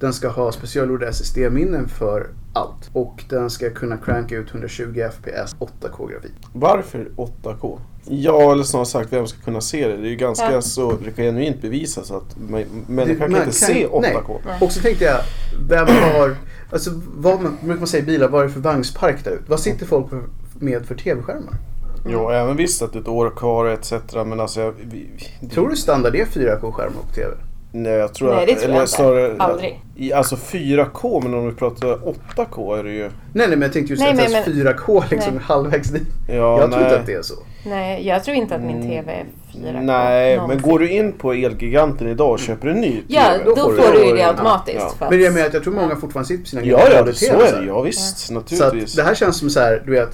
Speaker 2: Den ska ha specialgjorda SSD-minnen för allt. Och den ska kunna cranka ut 120 FPS 8K-grafik.
Speaker 1: Varför 8K? Ja, eller snarare sagt, vem ska kunna se det? Det är ju ganska
Speaker 3: Ja.
Speaker 1: så genuint bevisat så att man, människan
Speaker 2: Det-
Speaker 1: kan
Speaker 2: man
Speaker 1: inte se 8K.
Speaker 2: Nej. Och så tänkte jag, vem har... Alltså vad man, brukar man säga i bilar, vad är det för vagnspark där ute? Vad sitter folk med för tv-skärmar?
Speaker 1: Jo,
Speaker 3: Mm.
Speaker 1: även visst att det är ett år kvar etc. Men alltså jag... Vi, vi-
Speaker 2: Tror du standard är 4K-skärmar på TV?
Speaker 1: Nej, jag tror
Speaker 3: Nej,
Speaker 1: att-
Speaker 3: det tror jag
Speaker 1: eller
Speaker 3: inte.
Speaker 1: snarare-
Speaker 3: Aldrig.
Speaker 1: I, alltså 4K, men om vi pratar 8K är det ju...
Speaker 2: Nej, nej men jag tänkte just
Speaker 3: Nej,
Speaker 2: att
Speaker 3: men-
Speaker 2: ens
Speaker 3: men-
Speaker 2: 4K liksom
Speaker 3: Nej.
Speaker 2: halvvägs dit.
Speaker 1: Ja,
Speaker 2: jag tror
Speaker 1: nej.
Speaker 2: inte att det är så.
Speaker 3: Nej, jag tror inte att min TV är 4K.
Speaker 1: Nej, men
Speaker 3: någonsin.
Speaker 1: går du in på Elgiganten idag och köper en ny
Speaker 3: Ja,
Speaker 1: TV,
Speaker 3: då får du ju det
Speaker 2: Ja.
Speaker 3: automatiskt.
Speaker 1: Ja.
Speaker 3: För att,
Speaker 2: Men det är med att jag tror många fortfarande sitter på sina
Speaker 1: Ja, ja, det, så
Speaker 2: kabel-TV
Speaker 1: är det.
Speaker 2: här.
Speaker 1: Ja, visst.
Speaker 2: Så
Speaker 1: Naturligtvis.
Speaker 2: att det här känns som så här, du vet,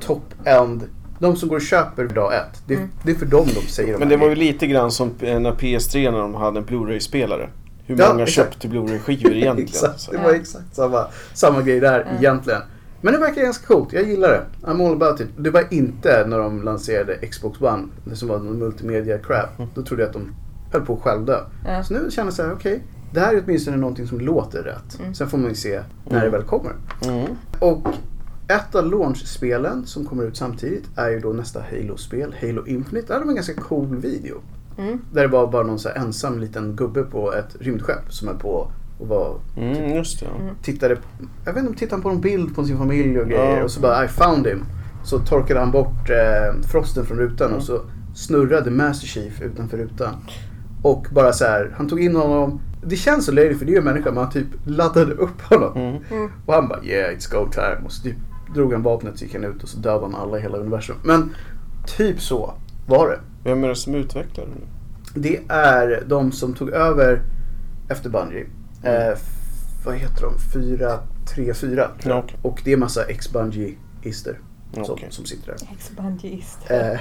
Speaker 2: top-end. De som går och köper dag ett,
Speaker 3: Mm.
Speaker 2: det, det är för dem de säger de
Speaker 1: Men
Speaker 2: här
Speaker 1: det var ju lite grann som eh, när PS3 när de hade en Blu-ray-spelare. Hur
Speaker 2: Ja,
Speaker 1: många
Speaker 2: exakt.
Speaker 1: köpte Blu-ray-skivor
Speaker 2: grejerna.
Speaker 1: egentligen?
Speaker 2: exakt,
Speaker 1: Så.
Speaker 2: det var exakt samma, samma grej där egentligen. Men det verkar ganska coolt, jag gillar det. I'm all about it. Det var inte när de lanserade Xbox One, det som var någon multimedia crap.
Speaker 1: Mm.
Speaker 2: Då trodde jag att de höll på att självdö.
Speaker 3: Ja.
Speaker 2: Så nu känner jag så här, okej. det här är åtminstone någonting som låter rätt. Sen får man ju se när det väl kommer.
Speaker 1: Mm.
Speaker 2: Och ett av launch-spelen som kommer ut samtidigt är ju då nästa Halo-spel, Halo Infinite. Där hade de en ganska cool video.
Speaker 3: Mm.
Speaker 2: Där det var bara någon så här ensam liten gubbe på ett rymdskepp som är på och var,
Speaker 1: Mm, just det.
Speaker 2: tittade, jag vet inte om tittade på en bild på sin familj och grejer
Speaker 1: Ja.
Speaker 2: och så bara I found him. Så torkade han bort eh, frosten från rutan och så snurrade Master Chief utanför rutan. Och bara så här, han tog in honom. Det känns så löjligt för det är ju en människa men han typ laddade upp honom.
Speaker 1: Mm.
Speaker 2: Och han bara yeah it's go time. Och så typ drog han vapnet så gick han ut och så dödade han alla i hela universum. Men typ så var det.
Speaker 1: Vem är det som utvecklar det nu?
Speaker 2: Det är de som tog över efter Bungie.
Speaker 1: Mm.
Speaker 2: Eh, vad heter de? 434 tror jag.
Speaker 1: Ja, okej.
Speaker 2: Och det är massa ex-Bungie-ister som,
Speaker 1: Okej.
Speaker 2: som sitter där.
Speaker 3: Ex-bungeist.
Speaker 2: Äh, Eh,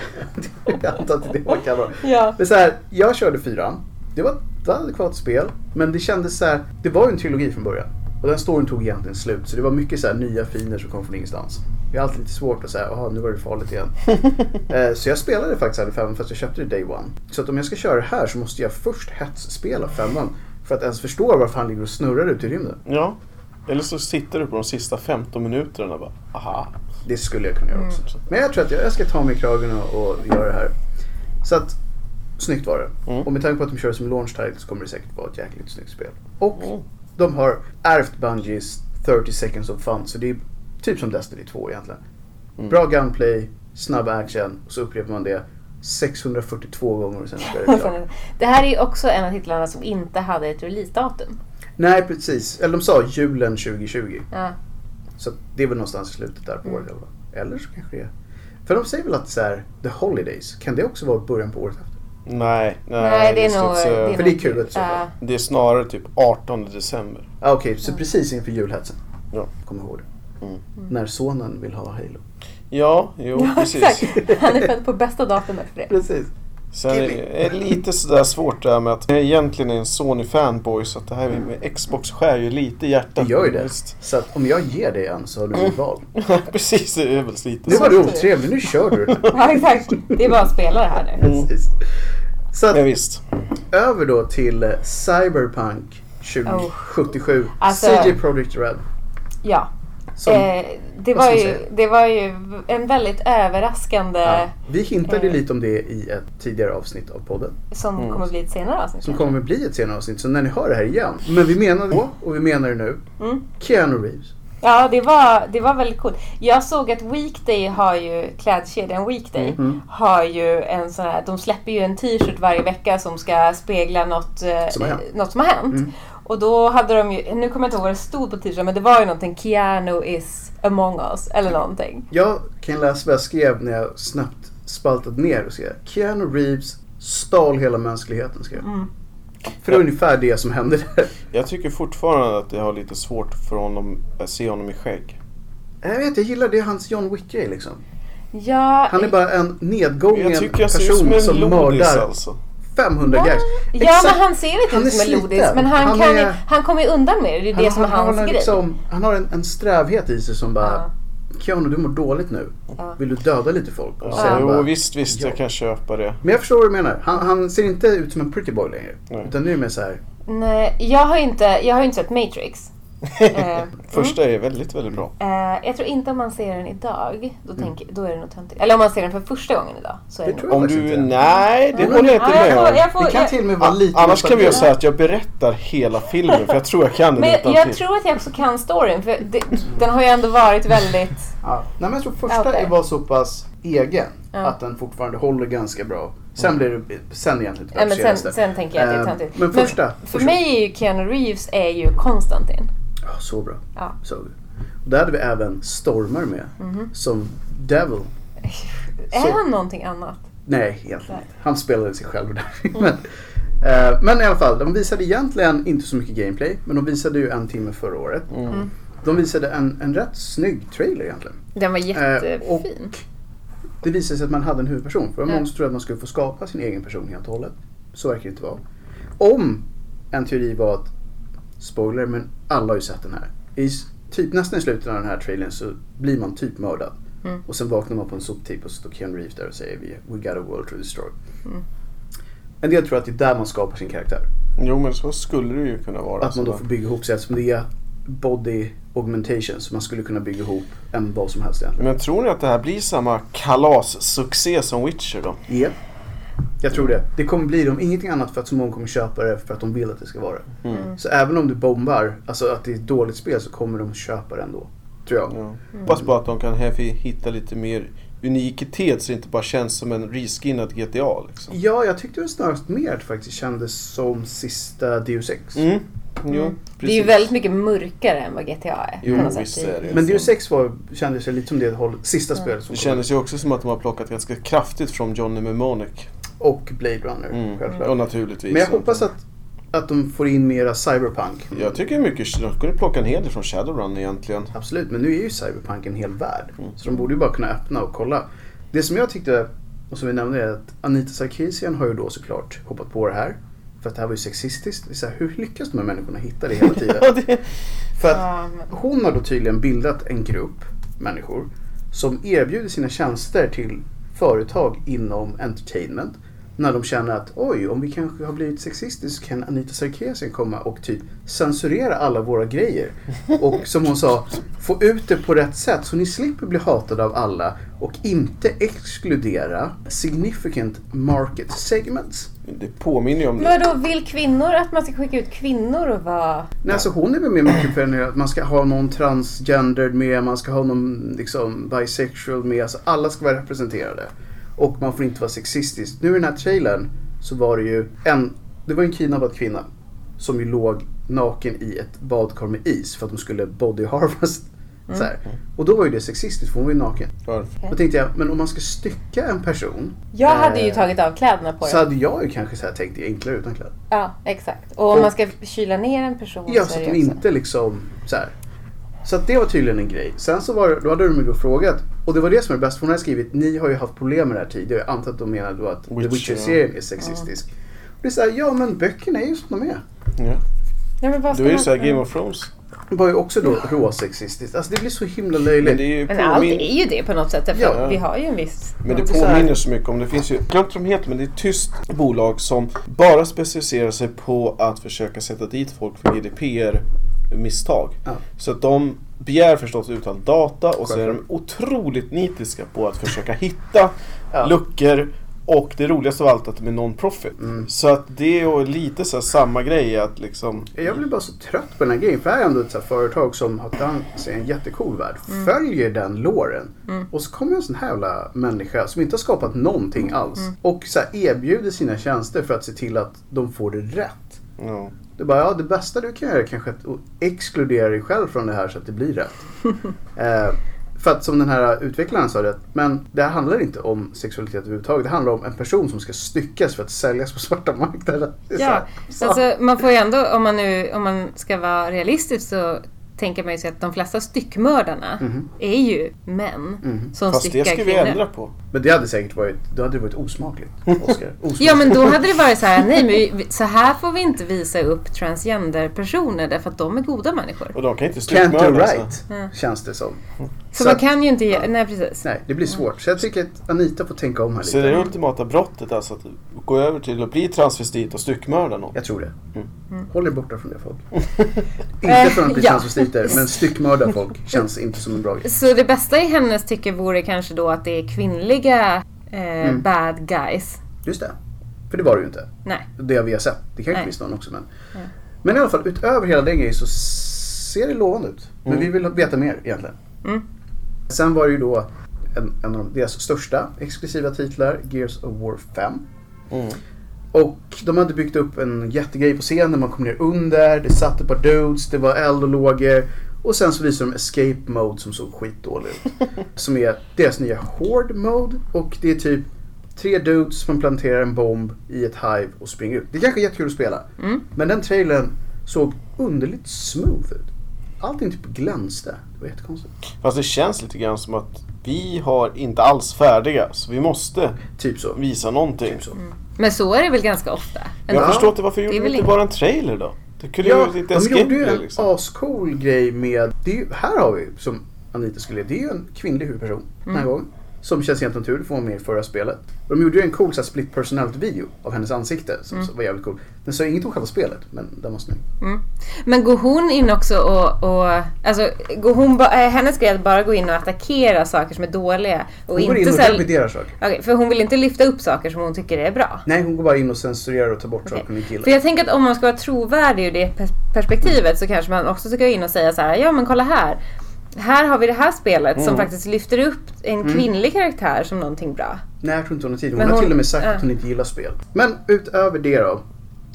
Speaker 2: jag antar att det är det man kallar dem.
Speaker 3: Ja.
Speaker 2: Men så här, jag körde fyran. Det var åtta adekvata spel. Men det kändes så här, det var ju en trilogi från början. Och den storyn tog egentligen slut. Så det var mycket så här nya finer som kom från ingenstans. Det är alltid lite svårt att säga, jaha nu var det farligt igen. Eh, så jag spelade faktiskt aldrig femman fast jag köpte det day one. Så att om jag ska köra det här så måste jag först hetsspela femman. För att ens förstå varför han ligger och snurrar ute i rymden.
Speaker 1: Ja. Eller så sitter du på de sista 15 minuterna och bara aha.
Speaker 2: Det skulle jag kunna göra också. Men jag tror att jag, jag ska ta mig i kragen och, och göra det här. Så att, snyggt var det.
Speaker 1: Mm.
Speaker 2: Och med tanke på att de kör som launch title så kommer det säkert vara ett jäkligt snyggt spel. Och
Speaker 1: Mm.
Speaker 2: de har ärvt Bungies 30 seconds of fun. Så det är typ som Destiny 2 egentligen. Bra gunplay, snabb action och så upprepar man det 642 gånger och sen så är det klart.
Speaker 4: Det här är ju också en av titlarna som inte hade ett releasedatum.
Speaker 2: Nej precis, eller de sa julen 2020.
Speaker 4: Ja.
Speaker 2: Så det är väl någonstans i slutet där på
Speaker 4: Mm.
Speaker 2: året eller vad? Eller så kanske det är. För de säger väl att så här, the holidays, kan det också vara början på året efter?
Speaker 1: Nej, nej,
Speaker 4: Nej, det är nog...
Speaker 1: så-
Speaker 4: det är
Speaker 2: För
Speaker 4: nog-
Speaker 2: det är kul i så fall.
Speaker 4: Ja.
Speaker 1: det är snarare typ 18 december.
Speaker 2: Ah, Okej, så precis inför julhetsen.
Speaker 1: Ja.
Speaker 2: Kom ihåg det.
Speaker 4: Mm.
Speaker 2: När sonen vill ha Halo.
Speaker 1: Ja, jo
Speaker 4: Ja,
Speaker 1: precis.
Speaker 4: exakt. Han är född på bästa datumet för det.
Speaker 2: Precis.
Speaker 1: Sen är det är lite sådär svårt det här med att jag egentligen är en Sony-fanboy så att det här med Xbox skär ju lite i hjärtat.
Speaker 2: Det gör ju det.
Speaker 1: Just.
Speaker 2: Så att om jag ger dig en så har du mitt val.
Speaker 4: Mm.
Speaker 1: precis, det är väl lite
Speaker 2: Nu
Speaker 1: så.
Speaker 2: var du otrevlig, nu kör du den.
Speaker 4: Ja, exakt. Det är bara att spela det här nu.
Speaker 2: Precis. Så att,
Speaker 1: Ja, visst.
Speaker 2: över då till eh, Cyberpunk 2077.
Speaker 4: Alltså-
Speaker 2: CJ Projekt Red.
Speaker 4: Ja.
Speaker 2: Som,
Speaker 4: eh,
Speaker 2: vad
Speaker 4: det, var
Speaker 2: ska man
Speaker 4: ju,
Speaker 2: säga?
Speaker 4: det var ju en väldigt överraskande
Speaker 2: ja, vi hintade
Speaker 4: eh.
Speaker 2: lite om det i ett tidigare avsnitt av podden.
Speaker 4: som kommer bli ett senare avsnitt.
Speaker 2: Mm. Som kommer bli ett senare avsnitt, så när ni hör det här igen. Men vi menade då, och vi menar det nu,
Speaker 4: Mm.
Speaker 2: Keanu Reeves.
Speaker 4: Ja, det var, det var väldigt coolt. Jag såg att Weekday har ju, klädkedjan Weekday
Speaker 2: Mm.
Speaker 4: har ju en sån här, de släpper ju en t-shirt varje vecka som ska spegla något eh,
Speaker 2: Som har hänt. Mm.
Speaker 4: något som har hänt. Och då hade de ju, nu kommer jag inte ihåg vad det stod på t-shirten, men det var ju någonting Keanu is among us eller någonting.
Speaker 2: Jag kan läsa vad jag skrev när jag snabbt spaltade ner och skrev Keanu Reeves stal hela mänskligheten. Skrev.
Speaker 4: Mm.
Speaker 2: jag. För det var ungefär det som hände där.
Speaker 1: Jag tycker fortfarande att jag har lite svårt för honom att se honom i skägg.
Speaker 2: Jag vet, jag gillar det hans John Wick är liksom.
Speaker 4: Ja,
Speaker 2: Han är bara en nedgången
Speaker 1: Jag tycker jag ser ut som
Speaker 2: person
Speaker 1: en
Speaker 2: som
Speaker 1: lodis
Speaker 2: mördar
Speaker 1: alltså.
Speaker 2: 500 gags.
Speaker 4: ja men han ser lite
Speaker 2: Han
Speaker 4: ut
Speaker 2: är
Speaker 4: som en lodis,
Speaker 2: sliten.
Speaker 4: men han,
Speaker 2: Han
Speaker 4: kan,
Speaker 2: är-
Speaker 4: han kommer ju undan med det. Det är det som är hans
Speaker 2: har
Speaker 4: grej.
Speaker 2: liksom- han har en, en strävhet i sig som bara Keanu du mår dåligt nu.
Speaker 4: Ja.
Speaker 2: Vill du döda lite folk? Och
Speaker 1: Ja,
Speaker 2: sen
Speaker 1: jo,
Speaker 2: bara,
Speaker 1: visst, visst, jag kan köpa det.
Speaker 2: Men jag förstår vad du menar. Han, han ser inte ut som en pretty boy längre.
Speaker 1: Nej.
Speaker 2: Utan nu är det mer så här.
Speaker 4: Nej, jag har ju inte, jag har ju inte sett Matrix. Eh,
Speaker 1: Första är väldigt, väldigt bra.
Speaker 4: Eh, jag tror inte om man ser den idag, då, tänker, då är det nog töntigt. Eller om man ser den för första gången idag. Så är
Speaker 2: Mm. Det
Speaker 4: det
Speaker 2: tror jag
Speaker 4: nog.
Speaker 1: Om du...
Speaker 2: faktiskt inte.
Speaker 1: Nej, det
Speaker 4: Ja,
Speaker 1: håller jag inte
Speaker 4: ja,
Speaker 1: med
Speaker 4: jag får,
Speaker 1: om.
Speaker 4: jag får,
Speaker 2: Det kan till och med vara lite
Speaker 1: Annars kan vi göra
Speaker 2: nostalgi.
Speaker 1: så här att jag berättar hela filmen för jag tror jag kan den
Speaker 4: Men
Speaker 1: utan
Speaker 4: jag
Speaker 1: till.
Speaker 4: tror att jag också kan storyn, för det, den har ju ändå varit väldigt...
Speaker 2: Ja. Nej, men jag tror
Speaker 4: Out
Speaker 2: första
Speaker 4: there.
Speaker 2: var så pass egen
Speaker 4: Ja.
Speaker 2: att den fortfarande håller ganska bra. Sen blir det, sen typ, egentligen
Speaker 4: Nej, men sen,
Speaker 2: senaste.
Speaker 4: sen tänker jag att det är
Speaker 2: Eh,
Speaker 4: töntigt.
Speaker 2: Men första.
Speaker 4: för
Speaker 2: första.
Speaker 4: mig är ju Keanu Reeves är ju Konstantin.
Speaker 2: Ja, så bra.
Speaker 4: Ja.
Speaker 2: Så. Där hade vi även Stormar med. Som Devil. Så-
Speaker 4: Mhm. Är han någonting annat?
Speaker 2: Nej, egentligen
Speaker 4: Nej.
Speaker 2: inte. Han spelade sig själv där. men, eh, men i alla fall, de visade egentligen inte så mycket gameplay. Men de visade ju en timme förra året.
Speaker 1: Mm.
Speaker 4: Mm.
Speaker 2: De visade en, en rätt snygg trailer egentligen.
Speaker 4: Den var
Speaker 2: Eh, och
Speaker 4: jättefin.
Speaker 2: det visade sig att man hade en huvudperson. För det var många
Speaker 4: Ja.
Speaker 2: som trodde att man skulle få skapa sin egen person helt och hållet. Så verkar det inte vara. Om en teori var att, spoiler, men alla har ju sett den här. I s- typ nästan i slutet av den här trailern så blir man typ mördad. Och sen vaknar man på en soptipp och så står Ken Reeves där och säger "We- We got a world to destroy. En del tror att det är där man skapar sin karaktär.
Speaker 1: Jo, men så skulle det ju kunna vara. alltså.
Speaker 2: Att man då
Speaker 1: sådär.
Speaker 2: får bygga ihop sig eftersom det är body augmentation. Så man skulle kunna bygga ihop en vad som helst egentligen.
Speaker 1: Men tror ni att det här blir samma kalassuccé som Witcher då?
Speaker 2: Japp. Jag tror det. Det kommer bli det om ingenting annat för att så många kommer köpa det för att de vill att det ska vara det.
Speaker 1: Mm.
Speaker 2: Så även om du bombar, alltså att det är ett dåligt spel så kommer de köpa det ändå. Tror jag.
Speaker 1: Ja. Hoppas bara att de kan här hitta lite mer unikitet så det inte bara känns som en reskinnad GTA liksom.
Speaker 2: Ja, jag tyckte det snarast mer att det faktiskt kändes som sista Deus Ex.
Speaker 1: Mm. Jo, precis.
Speaker 4: Det är ju väldigt mycket mörkare än vad GTA är.
Speaker 1: Jo,
Speaker 4: på något sätt
Speaker 1: visst
Speaker 4: i-
Speaker 1: är det.
Speaker 2: Men Deus Ex var, kändes ju lite som det håll, sista spelet som
Speaker 1: Det
Speaker 2: kom.
Speaker 1: kändes ju också som att de har plockat ganska kraftigt från Johnny Mnemonic.
Speaker 2: Och Blade Runner,
Speaker 1: Mm.
Speaker 2: självklart.
Speaker 1: Och naturligtvis.
Speaker 2: Men jag hoppas att, att de får in mera cyberpunk.
Speaker 1: Jag tycker mycket... De skulle plocka en hel del från Shadowrun egentligen.
Speaker 2: Absolut, men nu är ju cyberpunk en hel värld. Så de borde ju bara kunna öppna och kolla. Det som jag tyckte, och som vi nämnde, är att Anita Sarkeesian har ju då såklart hoppat på det här. För att det här var ju sexistiskt. Det är Så här, hur lyckas de här människorna hitta det hela tiden?
Speaker 1: Ja, det...
Speaker 2: För att
Speaker 4: Ja, men-
Speaker 2: hon har då tydligen bildat en grupp människor som erbjuder sina tjänster till företag inom entertainment. När de känner att oj, om vi kanske har blivit sexistiska så kan Anita Sarkeesian komma och typ censurera alla våra grejer. Och som hon sa, få ut det på rätt sätt så ni slipper bli hatade av alla och inte exkludera significant market segments.
Speaker 1: det påminner ju om det.
Speaker 4: Men då vill kvinnor att man ska skicka ut kvinnor och vara...
Speaker 2: Nej, alltså hon är väl mer mycket för att man ska ha någon transgendered med, man ska ha någon liksom, bisexual med. Alltså alla ska vara representerade. Och man får inte vara sexistisk. Nu i den här trailern så var det ju en, det var en kidnappad kvinna som ju låg naken i ett badkar med is för att de skulle body harvest. Så här. Och då var ju det sexistiskt för hon var ju naken.
Speaker 1: För.
Speaker 2: Då tänkte jag, men om man ska stycka en person
Speaker 4: Jag hade ju
Speaker 2: Eh,
Speaker 4: tagit av kläderna på
Speaker 2: så
Speaker 4: den.
Speaker 2: hade jag ju kanske så här tänkt det är enklare utan kläder.
Speaker 4: Ja, exakt. Och om
Speaker 2: Och-
Speaker 4: man ska kyla ner en person
Speaker 2: Ja,
Speaker 4: så
Speaker 2: så
Speaker 4: är
Speaker 2: att
Speaker 4: det
Speaker 2: de
Speaker 4: ju också-
Speaker 2: inte liksom så här. Så att det var tydligen en grej. Sen så var det, då hade de ju då frågat, och det var det som är bäst, för hon hade skrivit ni har ju haft problem med det här tidigare. Jag antar att de menade då att
Speaker 1: Witcher,
Speaker 2: The Witcher-serien är sexistisk. Och det är såhär, ja men böckerna är ju som de är.
Speaker 1: Ja.
Speaker 4: Nej, men vad
Speaker 1: Du
Speaker 4: ska
Speaker 1: är ju
Speaker 4: man-
Speaker 1: såhär Game of Thrones.
Speaker 2: Det var ju också då råsexistiskt. Alltså det blir så himla löjligt.
Speaker 1: Men det, är ju
Speaker 4: Men allt
Speaker 1: påmin...
Speaker 4: är ju det på något sätt. För
Speaker 2: Ja.
Speaker 4: Vi har ju en viss...
Speaker 1: men det
Speaker 2: det är så här-
Speaker 1: påminner så mycket om det finns ju, jag glömde vad de heter, men det är ett tyst bolag som bara specialiserar sig på att försöka sätta dit folk för GDPR-misstag.
Speaker 2: Ja.
Speaker 1: Så att de begär förstås ut all data och så är de
Speaker 2: Självklart.
Speaker 1: otroligt nitiska på att försöka hitta
Speaker 2: Ja.
Speaker 1: luckor och det roligaste av allt att de är non-profit.
Speaker 2: Mm.
Speaker 1: Så att det är ju lite så här samma grej att liksom...
Speaker 2: Jag blir bara så trött på den här grejen. För här är ändå ett så här företag som har dans i en jättecool värld.
Speaker 4: Mm.
Speaker 2: Följer den låren. Och så kommer en sån här jävla människa som inte har skapat någonting alls.
Speaker 4: Mm.
Speaker 2: Och så här erbjuder sina tjänster för att se till att de får det rätt.
Speaker 1: Ja.
Speaker 2: Det är bara, ja det bästa du kan göra är kanske att exkludera dig själv från det här så att det blir rätt. eh, för att som den här utvecklaren sa det, men det här handlar inte om sexualitet överhuvudtaget. Det handlar om en person som ska styckas för att säljas på svarta marknaden. Det är så
Speaker 4: Ja,
Speaker 2: här, så.
Speaker 4: alltså, man får ju ändå, om man, nu, om man ska vara realistisk så tänker man ju sig att de flesta styckmördarna
Speaker 2: Mhm.
Speaker 4: är ju män som
Speaker 1: Fast
Speaker 4: styckar
Speaker 1: det ska vi
Speaker 4: kvinnor.
Speaker 1: ändra på.
Speaker 2: Men det hade säkert varit, då hade det varit osmakligt, Oscar. Osmakligt.
Speaker 4: Ja men då hade det varit så här, nej men vi- så här får vi inte visa upp transgenderpersoner därför att de är goda människor.
Speaker 1: Och de kan inte
Speaker 2: Can't do
Speaker 1: styckmörda. alltså.
Speaker 2: right,
Speaker 4: Mm.
Speaker 2: känns det som.
Speaker 4: Så,
Speaker 2: Så
Speaker 4: man
Speaker 2: att-
Speaker 4: kan ju inte ge, nej precis.
Speaker 2: Nej, det blir svårt. Så jag tycker att Anita får tänka om här
Speaker 1: Så det är det
Speaker 2: lite.
Speaker 1: ultimata brottet alltså att gå över till att bli transvestit och styckmörda någon.
Speaker 2: Jag tror det.
Speaker 1: Mm.
Speaker 2: Håll er borta från det folk. inte från att bli
Speaker 4: Mm. ja.
Speaker 2: transvestiter, men styckmörda folk känns inte som en bra grej.
Speaker 4: Så det bästa i hennes tycke vore kanske då att det är kvinnliga eh,
Speaker 2: Mm.
Speaker 4: bad guys.
Speaker 2: Just det. För det var det ju inte.
Speaker 4: Nej.
Speaker 2: Det vi har sett. Det kanske
Speaker 4: Nej.
Speaker 2: finns någon också men. Men i alla fall, utöver hela den grejen så ser det lovande ut. Men
Speaker 1: Mm.
Speaker 2: vi vill veta mer egentligen.
Speaker 4: Mm.
Speaker 2: Sen var det ju då en, en av deras största exklusiva titlar, Gears of War 5.
Speaker 1: Mm.
Speaker 2: Och de hade byggt upp en jättegrej på scenen, man kom ner under, det satt ett par dudes, det var eld och lågor. Och sen så visade de escape mode som såg skitdålig ut. som är deras nya horde mode och det är typ tre dudes som planterar en bomb i ett hive och springer ut. Det kanske är jättekul att spela. Men den trailern såg underligt smooth ut. Allting typ glänste. Det var jättekonstigt.
Speaker 1: Fast det känns lite grann som att vi har inte alls färdiga så vi måste
Speaker 2: Typ så.
Speaker 1: visa någonting.
Speaker 2: Typ så.
Speaker 4: Men så är det väl ganska ofta?
Speaker 1: Jag
Speaker 4: ändå?
Speaker 1: förstår inte varför gjorde
Speaker 4: Det är
Speaker 1: de
Speaker 4: väl
Speaker 1: inte
Speaker 4: inget.
Speaker 1: bara en trailer då? Det kunde ju
Speaker 2: Ja,
Speaker 1: varit lite
Speaker 2: de gjorde ju
Speaker 1: eskipper
Speaker 2: en
Speaker 1: liksom.
Speaker 2: ascool grej med... Det är ju, här har vi, som Anita skulle det är ju en kvinnlig huvudperson den
Speaker 4: Mm.
Speaker 2: här gången. Som känns helt naturligt för hon var med i förra spelet. Och de gjorde ju en cool så här, split personality-video av hennes ansikte som
Speaker 4: Mm.
Speaker 2: så, var jävligt cool. Den sa inget om själva spelet, men den var snygg.
Speaker 4: Men går hon in också och... och alltså, går hon ba, eh, hennes grej är att bara gå in och attackera saker som är dåliga. Och
Speaker 2: Hon går
Speaker 4: inte
Speaker 2: in och
Speaker 4: så här-
Speaker 2: reviderar saker.
Speaker 4: Okej, för hon vill inte lyfta upp saker som hon tycker är bra.
Speaker 2: Nej, hon går bara in och censurerar och tar bort saker hon
Speaker 4: Okej.
Speaker 2: inte
Speaker 4: För
Speaker 2: gillar.
Speaker 4: jag tänker att om man ska vara trovärdig ur det pers- perspektivet så kanske man också ska gå in och säga så här, ja men kolla här. Här har vi det här spelet
Speaker 2: Mm.
Speaker 4: som faktiskt lyfter upp en kvinnlig karaktär som någonting bra.
Speaker 2: Nej, jag tror inte hon har tid. Hon
Speaker 4: Men
Speaker 2: har
Speaker 4: hon-
Speaker 2: till och med sagt
Speaker 4: ja.
Speaker 2: att hon inte gillar spel. Men utöver det då.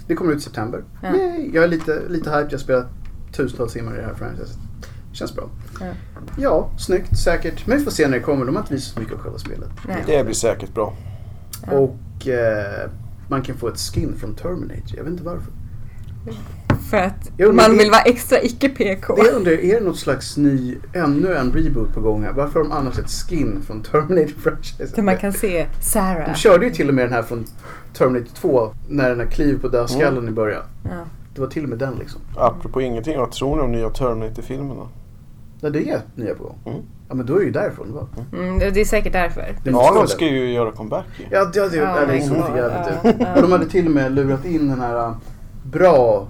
Speaker 2: Det kommer ut i september. Yay, jag är lite, lite hype. Jag har spelat tusentals timmar i det här franchiset. Känns bra.
Speaker 4: Ja.
Speaker 2: Ja, snyggt, säkert. Men vi får se när det kommer. De har inte visat så mycket av själva spelet.
Speaker 4: Nej.
Speaker 1: Det blir säkert bra.
Speaker 2: Och eh, man kan få ett skin från Terminator. Jag vet inte varför.
Speaker 4: för att
Speaker 2: Jo, men
Speaker 4: man
Speaker 2: det-
Speaker 4: vill vara extra icke-PK.
Speaker 2: Det jag undrar, är det något slags ny, ännu en reboot på gång här? Varför har de annars ett skin från Terminator franchisen?
Speaker 4: Där man kan se Sarah.
Speaker 2: De körde ju till och med den här från Terminator 2 när den här kliv på dödskallen i början.
Speaker 4: Ja.
Speaker 2: Det var till och med den liksom.
Speaker 1: Apropå ingenting, vad tror ni om nya Terminator-filmerna?
Speaker 2: Nej, det är nya på gång.
Speaker 1: Mm.
Speaker 2: Ja, men då är det ju därifrån va?
Speaker 4: Mm, det det är säkert därför.
Speaker 2: Det måste vara
Speaker 1: Arnold
Speaker 2: det.
Speaker 1: ska ju göra comeback ju.
Speaker 2: Ja, det, det,
Speaker 4: Ja,
Speaker 2: ja, det
Speaker 4: my
Speaker 2: såg
Speaker 4: God.
Speaker 2: för jävligt
Speaker 4: Ja,
Speaker 2: ut.
Speaker 4: ja.
Speaker 2: typ. Och de hade till och med lurat in den här äh, bra,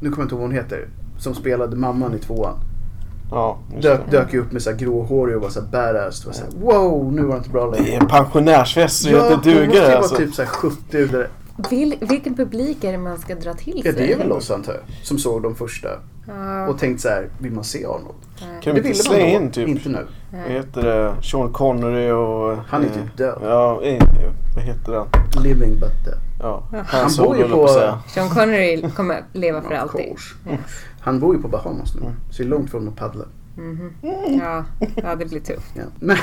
Speaker 2: nu kommer jag inte ihåg vad hon heter, som spelade mamman i tvåan.
Speaker 1: Ja, just
Speaker 2: Dök,
Speaker 1: det.
Speaker 2: dök ju upp med så här gråhårig och var så här badass. Det var så här, wow, nu var det inte bra längre.
Speaker 1: Det är pensionärsfest så det
Speaker 2: hon måste ju
Speaker 1: duger
Speaker 2: vara
Speaker 1: alltså.
Speaker 2: typ så här 70 eller...
Speaker 4: Vil, vilken publik är det man ska dra till
Speaker 2: Ja,
Speaker 4: sig?
Speaker 2: det är väl oss antar jag, som såg de första
Speaker 4: Ja,
Speaker 2: och tänkte så här, vill man se Arnold?
Speaker 4: nej.
Speaker 1: Kan
Speaker 2: det
Speaker 1: vi inte
Speaker 2: ville
Speaker 1: slänga
Speaker 2: man då,
Speaker 1: in typ,
Speaker 2: inte nu.
Speaker 1: vad heter det, Sean Connery och...
Speaker 2: Han är
Speaker 1: eh,
Speaker 2: typ död.
Speaker 1: Ja, eh, vad heter han?
Speaker 2: Living but dead.
Speaker 1: Ja,
Speaker 2: Han
Speaker 1: Han
Speaker 2: bor
Speaker 1: Solo höll
Speaker 2: ju
Speaker 1: jag på
Speaker 2: på-
Speaker 1: att säga.
Speaker 4: Sean Connery kommer leva för
Speaker 2: Of
Speaker 4: alltid.
Speaker 2: course. Han bor ju på Bahamas
Speaker 1: Mm.
Speaker 2: nu, så det är långt från att paddla.
Speaker 4: Ja, ja, det blir tufft.
Speaker 2: Ja. Men,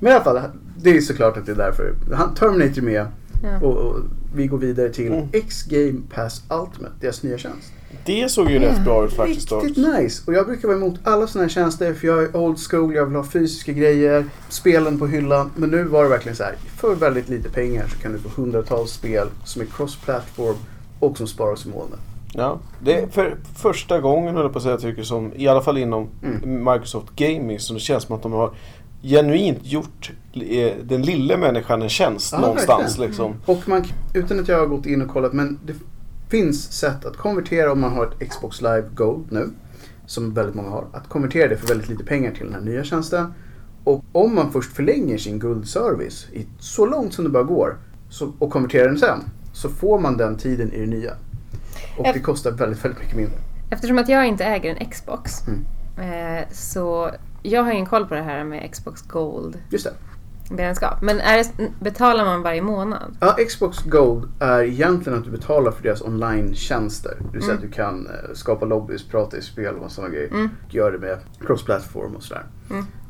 Speaker 2: men i alla fall, det är såklart att det är därför. Han, Terminator är med
Speaker 4: Ja.
Speaker 2: och, och vi går vidare till X-Game Pass Ultimate, deras nya tjänst.
Speaker 1: Det såg ju rätt bra ut faktiskt dock.
Speaker 2: Riktigt nice! Och jag brukar vara emot alla sådana här tjänster för jag är old school, jag vill ha fysiska grejer, spelen på hyllan. Men nu var det verkligen så här, för väldigt lite pengar så kan du få hundratals spel som är cross-platform och som sparas i molnet.
Speaker 1: Ja, det är för första gången höll jag på att säga tycker jag, som, i alla fall inom
Speaker 2: Mm.
Speaker 1: Microsoft Gaming, så det känns som att de har genuint gjort eh, den lilla människan en tjänst
Speaker 2: Ja,
Speaker 1: någonstans
Speaker 2: verkligen. Mm.
Speaker 1: liksom.
Speaker 2: Och man, kan- utan att jag har gått in och kollat, men det finns sätt att konvertera om man har ett Xbox Live Gold nu, som väldigt många har, att konvertera det för väldigt lite pengar till den här nya tjänsten. Och om man först förlänger sin guldservice i så långt som det bara går så, och konverterar den sen, så får man den tiden i det nya. Och det
Speaker 4: Eff-
Speaker 2: kostar väldigt, väldigt mycket mindre.
Speaker 4: Eftersom att jag inte äger en Xbox
Speaker 2: Mm.
Speaker 4: eh, så jag har ingen koll på det här med Xbox Gold
Speaker 2: Just det.
Speaker 4: medlemskap. Men är det, betalar man varje månad?
Speaker 2: Ja, Xbox Gold är egentligen att du betalar för deras online-tjänster. Det vill säga att du kan eh, skapa lobbys, prata i spel och sådana grejer. Och gör det med cross-platform och sådär.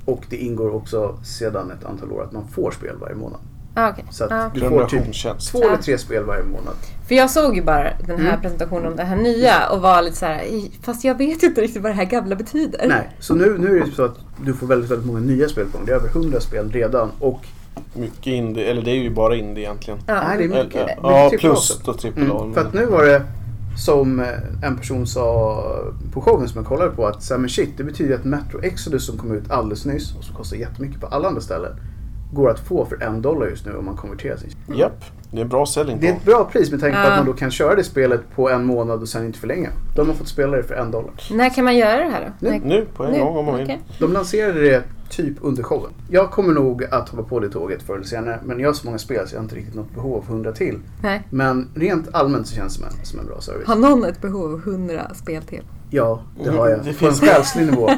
Speaker 2: Och det ingår också sedan ett antal år att man får spel varje månaad.
Speaker 4: Ah, okay.
Speaker 2: Så att
Speaker 4: ah.
Speaker 2: du får typ
Speaker 1: Prenumerationstjänst.
Speaker 2: två eller tre spel varje månad.
Speaker 4: För jag såg ju bara den
Speaker 2: Mm.
Speaker 4: här presentationen om det här nya och var lite så här, "Ej, fast jag vet inte riktigt vad det här gamla betyder.
Speaker 2: Nej, så nu, nu är det så att du får väldigt, väldigt många nya spel på gång. Det är över 100 spel redan. Och
Speaker 1: Mycket indie, eller det är ju bara indie egentligen.
Speaker 4: Ja.
Speaker 2: nej, det är mycket.
Speaker 1: Eller,
Speaker 2: mycket
Speaker 1: ja,
Speaker 2: trippel
Speaker 1: plus
Speaker 2: också.
Speaker 1: då trippel A.
Speaker 2: Mm, för att nu var det som eh, en person sa på showen som jag kollade på att så här, men shit, det betyder att Metro Exodus som kom ut alldeles nyss och som kostar jättemycket på alla andra ställen går att få för en dollar just nu om man konverterar sig.
Speaker 1: Japp, det är en bra selling
Speaker 2: Det är
Speaker 1: point.
Speaker 2: ett bra pris med tanke på
Speaker 4: Ja.
Speaker 2: att man då kan köra det spelet på en månad och sen inte förlänga. De har fått spela det för en dollar.
Speaker 4: När kan man göra det här då? När-
Speaker 1: Nu på en
Speaker 4: nu?
Speaker 1: gång om man vill.
Speaker 4: Okej.
Speaker 2: De lanserade det typ under showen. Jag kommer nog att hoppa på det tåget förr eller senare men jag har så många spel så jag har inte riktigt något behov av hundra till.
Speaker 4: Nej.
Speaker 2: Men rent allmänt så känns det som en, som en bra service.
Speaker 4: Har någon ett behov av 100 spel till?
Speaker 2: Ja, det har jag.
Speaker 1: Mm, det
Speaker 2: på en
Speaker 1: finns-
Speaker 2: själslig nivå.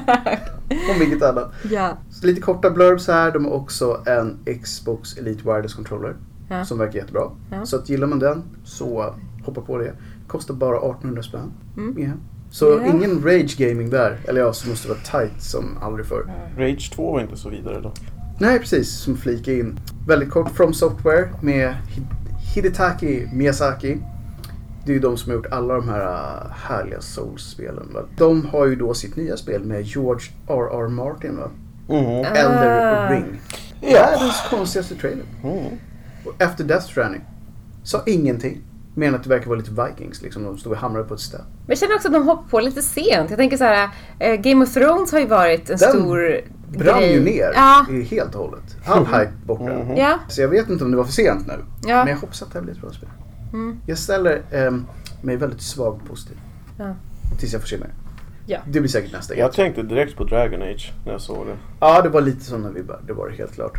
Speaker 2: Om vilket annat.
Speaker 4: Ja.
Speaker 2: Så lite korta blurbs här. De har också en Xbox Elite Wireless Controller.
Speaker 4: Ja.
Speaker 2: Som verkar jättebra.
Speaker 4: Ja.
Speaker 2: Så att gillar man den så hoppa på det. Kostar bara 1800 spänn.
Speaker 4: Mm.
Speaker 2: Ja. Så
Speaker 4: Ja.
Speaker 2: ingen rage gaming där. Eller ja, som måste vara tight som aldrig förr.
Speaker 1: Rage 2 var inte så vidare då.
Speaker 2: Nej, precis. Som flika in. Väldigt kort From Software med Hid- Hidetaki Miyazaki. Det är ju de som har gjort alla de här äh, härliga Souls-spelen. Va? De har ju då sitt nya spel med George R.R. Martin, va?
Speaker 1: Mm.
Speaker 4: Ah.
Speaker 2: Elder Ring.
Speaker 1: Ja.
Speaker 2: Världens konstigaste trailer.
Speaker 1: Mm.
Speaker 2: Och efter Death Stranding sa ingenting. Men att det verkar vara lite Vikings, liksom. De stod och hamrade på ett ställe.
Speaker 4: Men jag känner också att de hoppar på lite sent. Jag tänker så här, eh, Game of Thrones har ju varit en
Speaker 2: Den
Speaker 4: stor
Speaker 2: Brann
Speaker 4: grej.
Speaker 2: ju ner
Speaker 4: Ja,
Speaker 2: i helt och hållet. All hype borta.
Speaker 4: ja,
Speaker 2: Så jag vet inte om det var för sent nu.
Speaker 4: Ja. Mm.
Speaker 2: Men jag hoppas att det här blir ett bra spel. Jag ställer ehm, mig väldigt svagt positiv.
Speaker 4: Ja.
Speaker 2: Tills jag får se mer.
Speaker 4: Ja.
Speaker 2: Det blir säkert nästa
Speaker 1: Jag
Speaker 2: E3.
Speaker 1: tänkte direkt på Dragon Age när jag såg det.
Speaker 2: Ja, det var lite sådana vibbar. Det var det helt klart.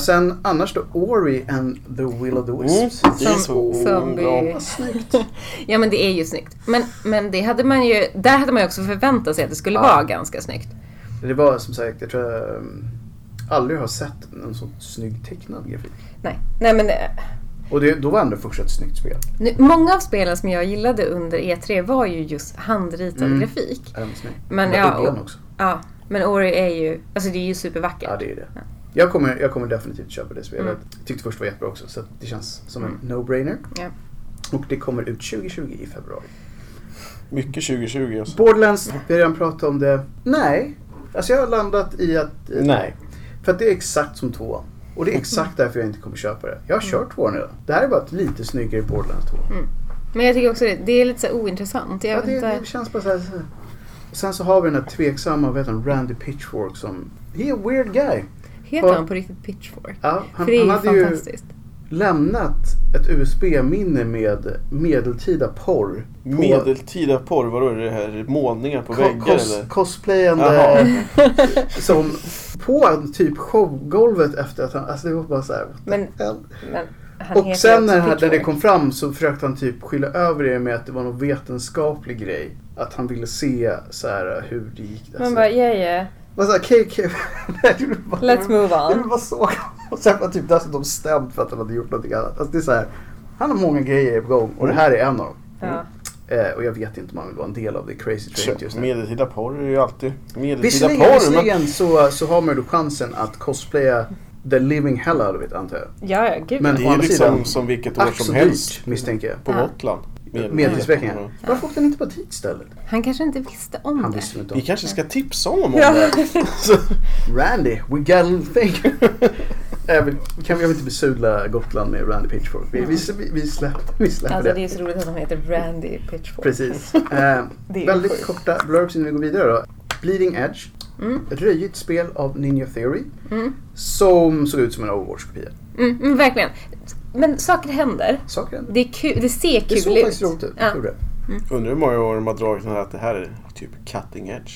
Speaker 2: Sen annars då, Ori and the Will of the Wisps.
Speaker 1: Mm. Det är
Speaker 4: som,
Speaker 1: så
Speaker 4: som
Speaker 1: bra.
Speaker 4: vi...
Speaker 2: Vad snyggt.
Speaker 4: Ja men det är ju snyggt. Men, men det hade man ju, där hade man ju också förväntat sig att det skulle
Speaker 2: Ja.
Speaker 4: vara ganska snyggt.
Speaker 2: Det var som sagt, jag tror jag ehm, aldrig har sett en så snygg tecknad grafik.
Speaker 4: Nej, Nej men eh,
Speaker 2: Och det, då var ändå först ett snyggt spel.
Speaker 4: nu, många av spelen som jag gillade under E3 var ju just handritad
Speaker 2: Mm.
Speaker 4: grafik.
Speaker 2: Även snyggt.
Speaker 4: Men
Speaker 2: Med
Speaker 4: ja,
Speaker 2: ugglan
Speaker 4: och,
Speaker 2: också.
Speaker 4: ja, men Ori är ju, alltså det är ju supervackert.
Speaker 2: Ja, det är det. Jag kommer, jag kommer definitivt köpa det spelet. Tyckte först var jättebra också så att det känns som en no-brainer.
Speaker 4: Mm. Ja.
Speaker 2: Och det kommer ut 2020 i februari.
Speaker 1: Mycket 2020 alltså.
Speaker 2: Borderlands, vi har redan pratat om det. Nej. Alltså jag har landat i att... eh,
Speaker 1: Nej.
Speaker 2: För att det är exakt som tvåan. Och det är exakt
Speaker 4: Mm.
Speaker 2: därför jag inte kommer köpa det. Jag har kört tvåan redan. Det här är bara ett lite snyggare Borderlands 2.
Speaker 4: Men Mm. jag tycker också det, det är lite så här ointressant. Jag
Speaker 2: Ja,
Speaker 4: vet
Speaker 2: det,
Speaker 4: inte.
Speaker 2: det känns bara så här. så här. Och sen så har vi den här tveksamma, vad heter han, Randy Pitchfork som... He a weird guy.
Speaker 4: Heter han på riktigt Pitchfork?
Speaker 2: Ja, han,
Speaker 4: För det är
Speaker 2: han
Speaker 4: ju
Speaker 2: hade ju
Speaker 4: fantastiskt.
Speaker 2: lämnat ett USB-minne med medeltida porr. på-
Speaker 1: Medeltida porr, vadå? Är det här målningar på
Speaker 2: Ko-
Speaker 1: väggar
Speaker 2: kos-
Speaker 1: eller?
Speaker 2: Cosplayande som på typ showgolvet efter att han, alltså det var bara så här. what the
Speaker 4: Men-
Speaker 2: hell?
Speaker 4: Men han heter
Speaker 2: Och sen
Speaker 4: ju
Speaker 2: när,
Speaker 4: också
Speaker 2: han, när det
Speaker 4: Pitchfork.
Speaker 2: kom fram så försökte han typ skylla över det med att det var någon vetenskaplig grej. Att han ville se så här hur det gick. Alltså,
Speaker 4: Man bara, ja ja,
Speaker 2: Man sa okej okej. Nej, det blev bara-
Speaker 4: let's move
Speaker 2: det blev
Speaker 4: on.
Speaker 2: bara så. Och sen var typ dessutom stämd för att han hade gjort någonting annat. Alltså det är så här. Han har många grejer på gång och det här är en av dem.
Speaker 4: Ja.
Speaker 2: Eh, och jag vet inte om han vill vara en del av det crazy train just nu.
Speaker 1: Medeltida porr är ju alltid medeltida
Speaker 2: Visserligen,
Speaker 1: porr. Men
Speaker 2: visserligen så, så har man ju då chansen att cosplaya the living hell out of it antar jag.
Speaker 4: Ja, ja, gud.
Speaker 2: Men-
Speaker 1: det
Speaker 2: å
Speaker 1: är ju
Speaker 2: andra
Speaker 1: liksom
Speaker 2: sidan,
Speaker 1: som vilket år
Speaker 2: Ack så
Speaker 1: som helst
Speaker 2: dyrt misstänker jag.
Speaker 1: på
Speaker 4: Ja.
Speaker 1: Gotland.
Speaker 2: Medeltidsveckan.
Speaker 1: porr.
Speaker 2: Varför åkte han inte bara dit istället?
Speaker 1: Mm.
Speaker 4: Han kanske inte visste om
Speaker 2: Han
Speaker 4: det.
Speaker 2: visste väl inte
Speaker 1: Vi
Speaker 2: om
Speaker 1: kanske ska tipsa honom om
Speaker 4: Ja.
Speaker 1: det. Så-
Speaker 2: Randy, we got a little thing. jag, vill, kan, vi- jag vill inte besudla Gotland med Randy Pitchfork. Vi, vi, vi, vi släpper, vi släpper
Speaker 4: Alltså det
Speaker 2: det.
Speaker 4: är så roligt att han heter Randy Pitchfork.
Speaker 2: Precis. Eh,
Speaker 4: Det är
Speaker 2: väldigt
Speaker 4: sjukt.
Speaker 2: korta blurbs innan vi går vidare då. Bleeding Edge.
Speaker 4: Mm.
Speaker 2: Röjigt spel av Ninja Theory.
Speaker 4: Mm.
Speaker 2: Som såg ut som en Overwatch-kopia.
Speaker 4: Mm, mm, verkligen. Men saker händer.
Speaker 2: Saker hände.
Speaker 4: Det, är kul, det ser
Speaker 2: Det
Speaker 4: kul
Speaker 2: såg
Speaker 4: ut.
Speaker 2: faktiskt roligt ut.
Speaker 4: Ja.
Speaker 2: Det gjorde det.
Speaker 1: Undrar hur många år de har dragit den här att det här är typ cutting edge.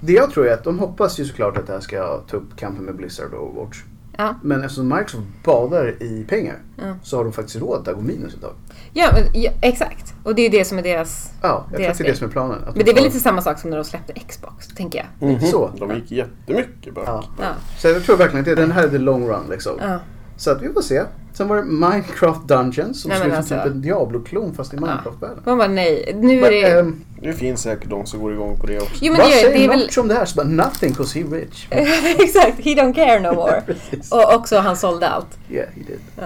Speaker 2: Det jag tror är att de hoppas ju såklart att det här ska ta upp kampen med Blizzard och Overwatch.
Speaker 4: Ja.
Speaker 2: Men eftersom Microsoft badar i pengar
Speaker 4: Ja.
Speaker 2: så har de faktiskt råd att gå minus ett tag.
Speaker 4: Ja, men, ja, exakt. Och det är det som är deras...
Speaker 2: Ja, jag tror
Speaker 4: Deras
Speaker 2: att det är det som är planen. Att de
Speaker 4: Men det är väl
Speaker 2: tar-
Speaker 4: lite samma sak som när de släppte Xbox, tänker jag.
Speaker 1: Mhm.
Speaker 2: Så.
Speaker 1: De gick jättemycket back.
Speaker 2: Ja.
Speaker 4: Ja.
Speaker 2: Så jag tror verkligen att det, den här är the long run liksom.
Speaker 4: Ja.
Speaker 2: Så att vi får se. Sen var det Minecraft Dungeons som
Speaker 4: Nej,
Speaker 2: ser ut
Speaker 4: men
Speaker 2: som typ
Speaker 4: alltså.
Speaker 2: en Diablo-klon fast i Minecraft-världen.
Speaker 4: Man bara nej, nu är
Speaker 2: Men,
Speaker 4: det...
Speaker 2: ehm,
Speaker 1: Nu finns säkert de som går igång på det också.
Speaker 4: Jo men
Speaker 2: vad
Speaker 4: det, gör-
Speaker 2: säger
Speaker 4: det är väl...
Speaker 2: Notch om det här? Så bara nothing 'cause he rich.
Speaker 4: exakt, he don't care no more.
Speaker 2: Precis.
Speaker 4: Och också han sålde allt.
Speaker 2: Yeah, he did.
Speaker 4: Ja.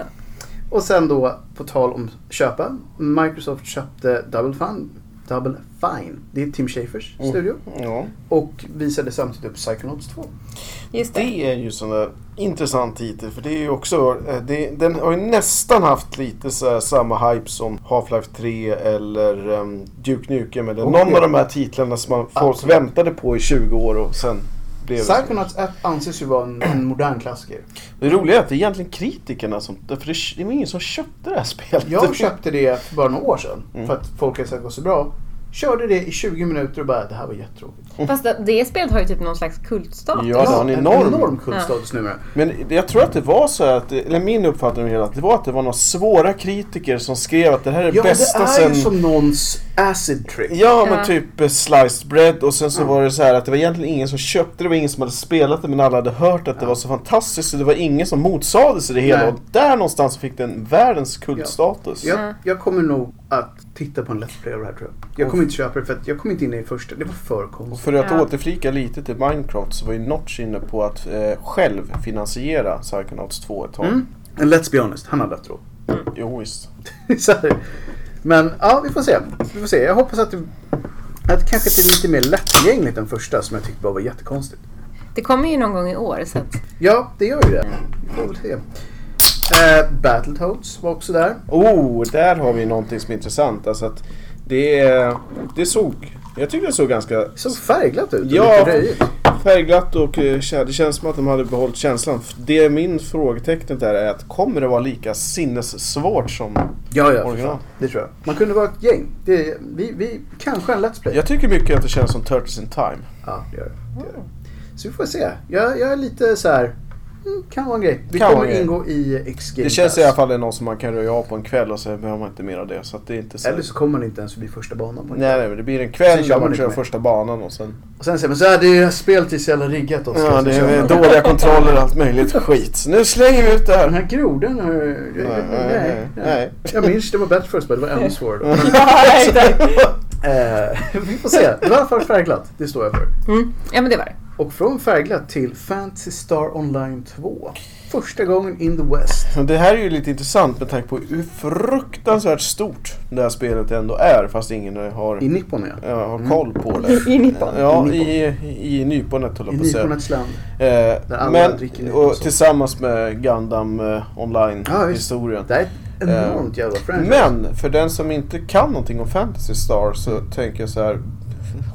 Speaker 2: Och sen då, på tal om köpa. Microsoft köpte Double Fine. Double Fine. Det är Tim Schafers studio.
Speaker 1: Ja.
Speaker 2: Och visade samtidigt upp Psychonauts 2.
Speaker 4: Just det.
Speaker 1: Det är ju sån där intressant titel för det är ju också, eh, det, den har ju nästan haft lite så här samma hype som Half-Life 3 eller um, Duke Nukem eller
Speaker 2: Oh,
Speaker 1: någon
Speaker 2: ja.
Speaker 1: av de här titlarna som man, folk
Speaker 2: Absolut.
Speaker 1: väntade på i 20 år och sen blev det så.
Speaker 2: Psychonauts 1 anses ju vara en, en modern klassiker.
Speaker 1: Det roliga är att det är egentligen kritikerna som, för det, det var ingen som köpte det här spelet.
Speaker 2: Jag köpte det för bara några år sedan för att folk hade sagt det var så bra. Körde det i 20 minuter och bara det här var jättetråkigt.
Speaker 4: Fast det, det spelet har ju typ någon slags kultstatus.
Speaker 1: Ja, det har en enorm-
Speaker 2: enorm kultstatus numera.
Speaker 1: Men jag tror att det var så här, att, eller min uppfattning om det hela, att det var att det var några svåra kritiker som skrev att det här är
Speaker 2: Ja,
Speaker 1: bästa
Speaker 2: det är
Speaker 1: sen...
Speaker 2: ju som någons acid trip.
Speaker 1: Ja men
Speaker 4: Ja.
Speaker 1: typ eh, sliced bread och sen så var det så här att det var egentligen ingen som köpte det, var ingen som hade spelat det men alla hade hört att det var så fantastiskt så det var ingen som motsade sig det hela
Speaker 2: Nej.
Speaker 1: och där någonstans fick den världens kultstatus.
Speaker 2: Jag, jag kommer nog att titta på en Let's Play av det här tror jag. Jag kommer inte köpa det för att jag kom inte in i första. Det var för
Speaker 1: Och
Speaker 2: konstigt.
Speaker 1: för att
Speaker 4: Ja.
Speaker 1: återflika lite till Minecraft så var ju Notch inne på att eh, själv finansiera Psychonauts 2 ett tag.
Speaker 2: Mm. And let's be honest, han hade haft råd.
Speaker 1: Jo, visst.
Speaker 2: Så här. Men ja, vi får se. Vi får se. Jag hoppas att det, att det kanske det är lite mer lättillgängligt än första som jag tyckte bara var jättekonstigt.
Speaker 4: Det kommer ju någon gång i år så att...
Speaker 2: Ja, det gör ju det. Vi får väl se. Eh, Battletoads var också där.
Speaker 1: Oh, där har vi någonting som är intressant. Alltså att det, det såg, jag tyckte det såg ganska
Speaker 2: Det såg färgglatt ut och
Speaker 1: Ja.
Speaker 2: lite röjigt.
Speaker 1: Färgglatt och eh, kä- det känns som att de hade behållit känslan. Det är min frågetecken där är att kommer det vara lika sinnessvårt som...
Speaker 2: Ja, ja. för
Speaker 1: Original.
Speaker 2: fan. Det tror jag. Man kunde vara ett gäng. Det, vi, vi, kanske en Let's Play.
Speaker 1: Jag tycker mycket att det känns som Turtles in Time.
Speaker 2: Ja, det gör det. det, gör det. Så vi får se. Jag, jag är lite så här. Mm, kan vara en grej. Vi
Speaker 1: Kan vara
Speaker 2: kommer
Speaker 1: en grej.
Speaker 2: ingå i X Game
Speaker 1: Det känns i
Speaker 2: Pass.
Speaker 1: alla fall det är någon som man kan röja av på en kväll och så behöver man inte mer av det. Så att det är inte så...
Speaker 2: Eller så kommer man inte ens förbi första banan. På det.
Speaker 1: Nej, nej, men det blir en
Speaker 2: Sen
Speaker 1: kväll
Speaker 2: kör
Speaker 1: där
Speaker 2: man
Speaker 1: man
Speaker 2: lite
Speaker 1: kör
Speaker 2: mer.
Speaker 1: första banan och sen...
Speaker 2: Och sen säger man så här, det är spelet är så jävla riggat Oskar.
Speaker 1: Ja,
Speaker 2: Så
Speaker 1: det
Speaker 2: kör
Speaker 1: är
Speaker 2: man.
Speaker 1: dåliga kontroller och allt möjligt skit. Så nu slänger vi ut det
Speaker 2: Den
Speaker 1: här.
Speaker 2: här eh, grodan har ju-
Speaker 1: Nej, nej, nej.
Speaker 2: Jag minns det var bättre först, men det var ännu svårare. då. Eh, vi får se. Det var i alla fall färgglatt. Det står jag för.
Speaker 4: Mm. Ja men det var det.
Speaker 2: Och från färgglatt till Fantasy Star Online 2. Första gången in the West.
Speaker 1: Men det här är ju lite intressant med tanke på hur fruktansvärt stort det här spelet ändå är fast ingen har,
Speaker 2: I Nippon ja.
Speaker 1: ja, har koll på det.
Speaker 4: I Nippon.
Speaker 1: Ja,
Speaker 2: Mm. I
Speaker 1: i, i nyponet höll
Speaker 2: I
Speaker 1: jag på att säga.
Speaker 2: Nipponets land.
Speaker 1: Eh,
Speaker 2: alla dricker
Speaker 1: men,
Speaker 2: nypon
Speaker 1: och
Speaker 2: så.
Speaker 1: tillsammans med Gundam eh,
Speaker 2: Ja, visst.
Speaker 1: online-historien.
Speaker 2: Det här är ett enormt jävla franchise.
Speaker 1: Eh, Men för den som inte kan någonting om Fantasy Star så tänker jag så här.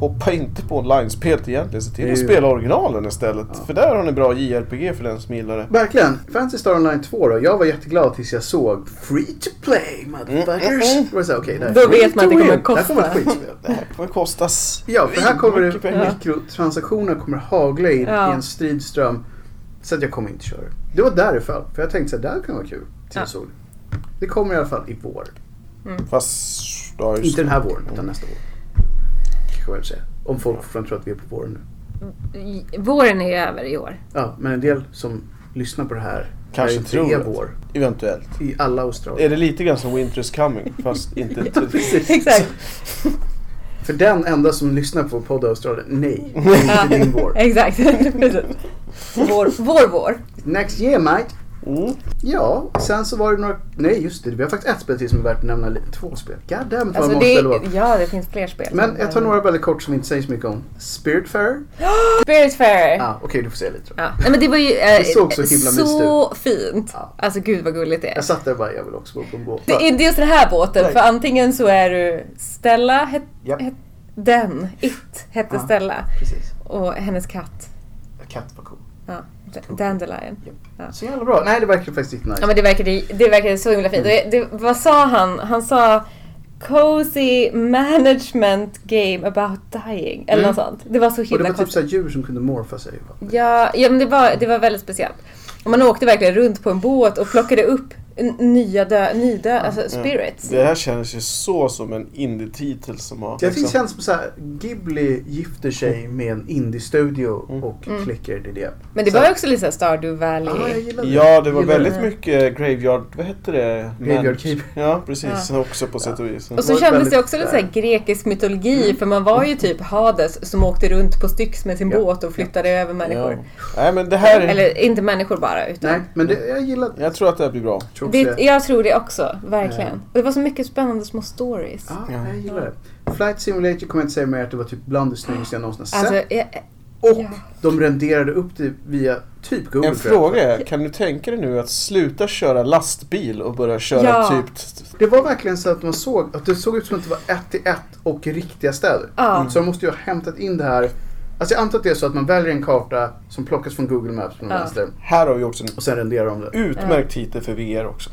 Speaker 1: Hoppa inte på online-spelet egentligen. Se till
Speaker 2: Det är
Speaker 1: att
Speaker 2: ju-
Speaker 1: spela originalen istället. För där har ni bra JRPG för den som gillar det.
Speaker 2: Verkligen. Fantasy Star Online 2 då. Jag var jätteglad tills jag såg Free to play motherfuckers.
Speaker 1: Mm, mm,
Speaker 2: Då var det så här, okej, det här-
Speaker 4: Då vet man att det kommer
Speaker 2: Det
Speaker 4: att kosta.
Speaker 2: här kommer ett skitspel.
Speaker 1: Det här kommer kosta s-
Speaker 2: Ja, för här kommer
Speaker 1: mycket pengar.
Speaker 2: det, mikrotransaktioner kommer hagla in
Speaker 4: Ja.
Speaker 2: i en stridström. Så att jag kommer inte köra. Det var där det föll. För jag tänkte så här, det här kan vara kul. Till
Speaker 4: Ja.
Speaker 2: ja. sol. Det kommer i alla fall i vår.
Speaker 1: Fast... Ja, just
Speaker 2: Inte
Speaker 1: det. Mm.
Speaker 2: den här våren, utan nästa vår. Kanske jag vill säga. Om folk fortfarande tror att vi är på våren nu.
Speaker 4: Våren är över i år.
Speaker 2: Ja, men en del som lyssnar på det här
Speaker 1: Kanske
Speaker 2: när det
Speaker 1: tror
Speaker 2: är
Speaker 1: det.
Speaker 2: vår.
Speaker 1: Eventuellt.
Speaker 2: I alla Australien.
Speaker 1: Är det lite grann som Winter is coming fast inte...
Speaker 4: Exakt.
Speaker 2: För den enda som lyssnar på podd Australien, nej. Det är inte din vår.
Speaker 4: Exakt. Precis. vår, vår, vår.
Speaker 2: Next year mate.
Speaker 1: Mm.
Speaker 2: Ja, sen så var det några... Nej just det, vi har faktiskt ett spel till som är värt att nämna. li- Två spel. God damn it vad
Speaker 4: Alltså
Speaker 2: många
Speaker 4: det,
Speaker 2: spel det var.
Speaker 4: ja, det finns fler spel.
Speaker 2: Men jag tar några väldigt kort som vi inte säger så mycket om. Spiritfarer.
Speaker 4: Spiritfarer.
Speaker 2: Ah, Okej, du får säga lite då.
Speaker 4: Ja. Nej, men det var ju eh,
Speaker 2: Det såg så himla
Speaker 4: så fint.
Speaker 2: Ja.
Speaker 4: Alltså gud vad gulligt det är.
Speaker 2: Jag satt där och bara, jag vill också vara på en båt.
Speaker 4: Det är dels den här båten,
Speaker 2: Nej.
Speaker 4: för antingen så är du Stella, het,
Speaker 2: Japp.
Speaker 4: het, den, It, hette
Speaker 2: Ja.
Speaker 4: Stella.
Speaker 2: Precis.
Speaker 4: Och hennes katt,
Speaker 2: Katt var cool.
Speaker 4: ja, Dandelion.
Speaker 2: Så jävla bra. Nej, det verkar faktiskt riktigt nice.
Speaker 4: Ja men det verkade, det verkade så himla fint. Och Det, vad sa han? Han sa Cozy management game about dying. Eller något sånt. Det var så
Speaker 2: Mm. och det
Speaker 4: himla
Speaker 2: var typ
Speaker 4: konstigt.
Speaker 2: såhär djur som kunde morfa sig. va?
Speaker 4: Ja, ja men det var, det var väldigt speciellt. Och man åkte verkligen runt på en båt och plockade upp n- nya dö, nydö, alltså spirits.
Speaker 1: Det här känns ju så som en indie-titel som har...
Speaker 2: Jag tycker det
Speaker 1: liksom-
Speaker 2: känns som såhär, Ghibli gifter sig
Speaker 1: Mm.
Speaker 2: med en indie-studio och klickar det det.
Speaker 4: Mm. Men det
Speaker 2: Så
Speaker 4: var
Speaker 2: här-
Speaker 4: ju också lite såhär Stardew
Speaker 2: Ja, jag
Speaker 4: Valley.
Speaker 2: gillar det.
Speaker 1: Ja, det var
Speaker 2: Gillar
Speaker 1: väldigt
Speaker 4: det.
Speaker 1: mycket Graveyard... Vad hette det?
Speaker 2: Graveyard
Speaker 1: Men-
Speaker 2: Keeper.
Speaker 1: Ja, precis. Också på sätt och vis.
Speaker 4: Och
Speaker 2: var
Speaker 4: så
Speaker 2: ju
Speaker 4: kändes det
Speaker 2: väldigt
Speaker 4: också lite
Speaker 2: där. Mm.
Speaker 4: såhär grekisk mytologi för man var ju typ Hades som åkte runt på Styx med sin
Speaker 2: Ja.
Speaker 4: båt och flyttade över människor.
Speaker 1: Nej, men det här...
Speaker 4: Eller inte människor bara utan
Speaker 2: Nej, men det, jag gillar det.
Speaker 1: Jag tror att det här blir bra.
Speaker 2: Tror också
Speaker 4: Det, jag tror det också, verkligen. Och det var så mycket spännande små stories.
Speaker 2: Ja,
Speaker 1: Ja.
Speaker 2: Ah, jag gillar det. Flight Simulator kommer jag inte säga mer att det var typ bland det snyggaste jag någonsin har
Speaker 4: Alltså,
Speaker 2: sett.
Speaker 4: jag,
Speaker 2: Och
Speaker 4: ja.
Speaker 2: de renderade upp det via typ Google.
Speaker 1: En
Speaker 2: tror jag.
Speaker 1: fråga är, kan du tänka dig nu att sluta köra lastbil och börja köra
Speaker 4: Ja.
Speaker 1: typ...
Speaker 2: Det var verkligen så att man såg att det såg ut som att det var ett till ett och riktiga städer. Mm.
Speaker 4: Ja.
Speaker 2: Så de måste ju ha hämtat in det här. Alltså jag antar att det är så att man väljer en karta som plockas från Google Maps från
Speaker 4: Ja.
Speaker 2: vänster
Speaker 1: Här har vi också en
Speaker 2: och sen renderar de det.
Speaker 1: utmärkt titel för VR också.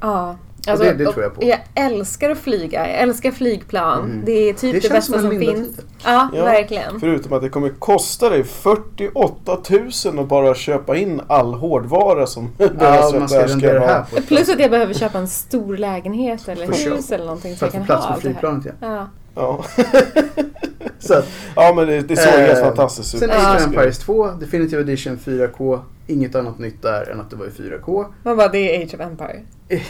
Speaker 4: ja. alltså,
Speaker 2: det- det tror jag på. Mm.
Speaker 4: Jag älskar att flyga, jag älskar flygplan. Det är typ
Speaker 2: Det
Speaker 4: det,
Speaker 2: känns som
Speaker 4: bästa
Speaker 2: en
Speaker 4: som
Speaker 2: Linda-titel.
Speaker 4: finns. Ja,
Speaker 1: Ja.
Speaker 4: verkligen.
Speaker 1: Förutom att det kommer kosta dig 48 000 att bara köpa in all hårdvara som
Speaker 2: Ja, man ska
Speaker 1: behärska
Speaker 2: rendera alltså det här
Speaker 1: vara.
Speaker 2: på ett
Speaker 4: Plus att jag behöver köpa en stor lägenhet eller
Speaker 2: För sure.
Speaker 4: hus eller någonting
Speaker 2: för
Speaker 4: så
Speaker 2: att
Speaker 4: jag
Speaker 2: få
Speaker 4: kan
Speaker 2: plats
Speaker 4: ha
Speaker 2: med
Speaker 4: allt det här.
Speaker 2: flygplanet igen.
Speaker 4: Ja.
Speaker 1: Ja.
Speaker 2: Så att,
Speaker 1: ja, men det, det såg
Speaker 2: Eh,
Speaker 1: helt fantastiskt ut.
Speaker 2: Sen
Speaker 4: Ja.
Speaker 2: Age of Empires 2, Definitive Edition 4K. Inget annat nytt där än att det var i 4K.
Speaker 4: Man bara, det är Age of Empire.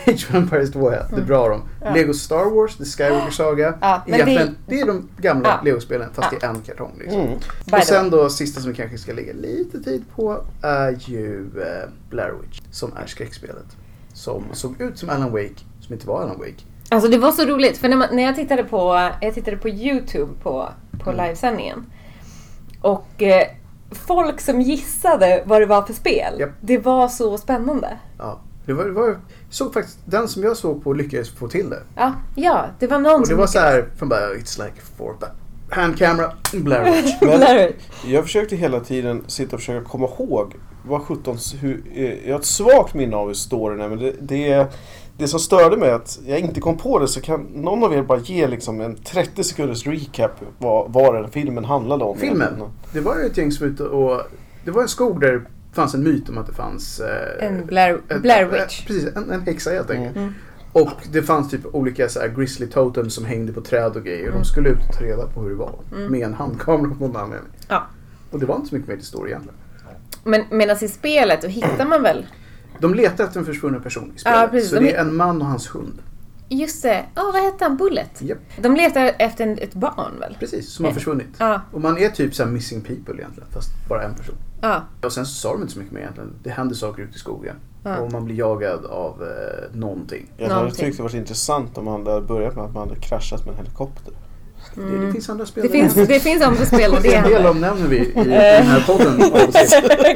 Speaker 2: Age of Empires 2 ja, det är bra de.
Speaker 4: Mm. Ja.
Speaker 2: Lego Star Wars, The Skywalker Saga.
Speaker 4: Ja, men
Speaker 2: Egentligen,
Speaker 4: det-
Speaker 2: det... är de gamla
Speaker 4: Ja.
Speaker 2: Lego-spelen fast
Speaker 4: Ja.
Speaker 2: i en kartong. Liksom.
Speaker 1: Mm.
Speaker 4: By
Speaker 2: Och
Speaker 4: the way.
Speaker 2: sen då sista som vi kanske ska lägga lite tid på är ju eh, Blair Witch som är skräckspelet. Som såg ut som Alan Wake, som inte var Alan Wake.
Speaker 4: Alltså det var så roligt, för när, man, när jag, tittade på, jag tittade på YouTube på, på
Speaker 2: Mm.
Speaker 4: livesändningen och eh, folk som gissade vad det var för spel,
Speaker 2: Japp.
Speaker 4: det var så spännande.
Speaker 2: Ja, det var, det var, såg faktiskt, den som jag såg på lyckades få till det.
Speaker 4: Ja, ja det var någon
Speaker 2: Och det
Speaker 4: som
Speaker 2: var så här, från bara it's like Fortnite. Hand camera, Blair Witch.
Speaker 1: Men jag försökte hela tiden sitta och försöka komma ihåg vad sjutton, hur, eh, jag har ett svagt minne av hur storyn är men det, det, det som störde mig är att jag inte kom på det så kan någon av er bara ge liksom en 30 sekunders recap vad, vad den filmen handlade om.
Speaker 2: Filmen,
Speaker 1: egentligen.
Speaker 2: det var ju ett gäng som var ute och, det var en skog där det fanns en myt om att det fanns eh,
Speaker 4: en Blair,
Speaker 2: ett-
Speaker 4: Blair
Speaker 2: eh,
Speaker 4: Witch. Mm.
Speaker 2: Precis, en, en häxa helt enkelt. Och det fanns typ olika så här grizzly totems som hängde på träd och grejer.
Speaker 4: Mm.
Speaker 2: De skulle ut och ta reda på hur det var. Med en handkamera på någon anledning.
Speaker 4: Ja.
Speaker 2: Och det var inte så mycket mer till story egentligen.
Speaker 4: Men medan i spelet, då hittar man väl...
Speaker 2: De letar efter en försvunnen person i spelet.
Speaker 4: precis.
Speaker 2: så
Speaker 4: De
Speaker 2: det
Speaker 4: hit-
Speaker 2: är en man och hans hund.
Speaker 4: Just det. Oh, vad hette han? Bullet?
Speaker 2: Japp.
Speaker 4: De letar efter en- ett barn väl?
Speaker 2: Precis, som har försvunnit.
Speaker 4: Eh, Ja.
Speaker 2: Och man är typ så här missing people egentligen, fast bara en person.
Speaker 4: Ja.
Speaker 2: Och sen så sa de inte så mycket mer egentligen. Det händer saker ute i skogen.
Speaker 4: Ja.
Speaker 2: Och man blir jagad av eh, någonting.
Speaker 1: Jag hade
Speaker 4: Någonting.
Speaker 1: tyckt det varit intressant om man hade börjat med att man hade kraschat med en helikopter.
Speaker 2: Det, det finns andra spel.
Speaker 4: Mm. Det finns, det finns andra spel och det
Speaker 2: En del
Speaker 4: händer.
Speaker 2: omnämner vi i den här podden.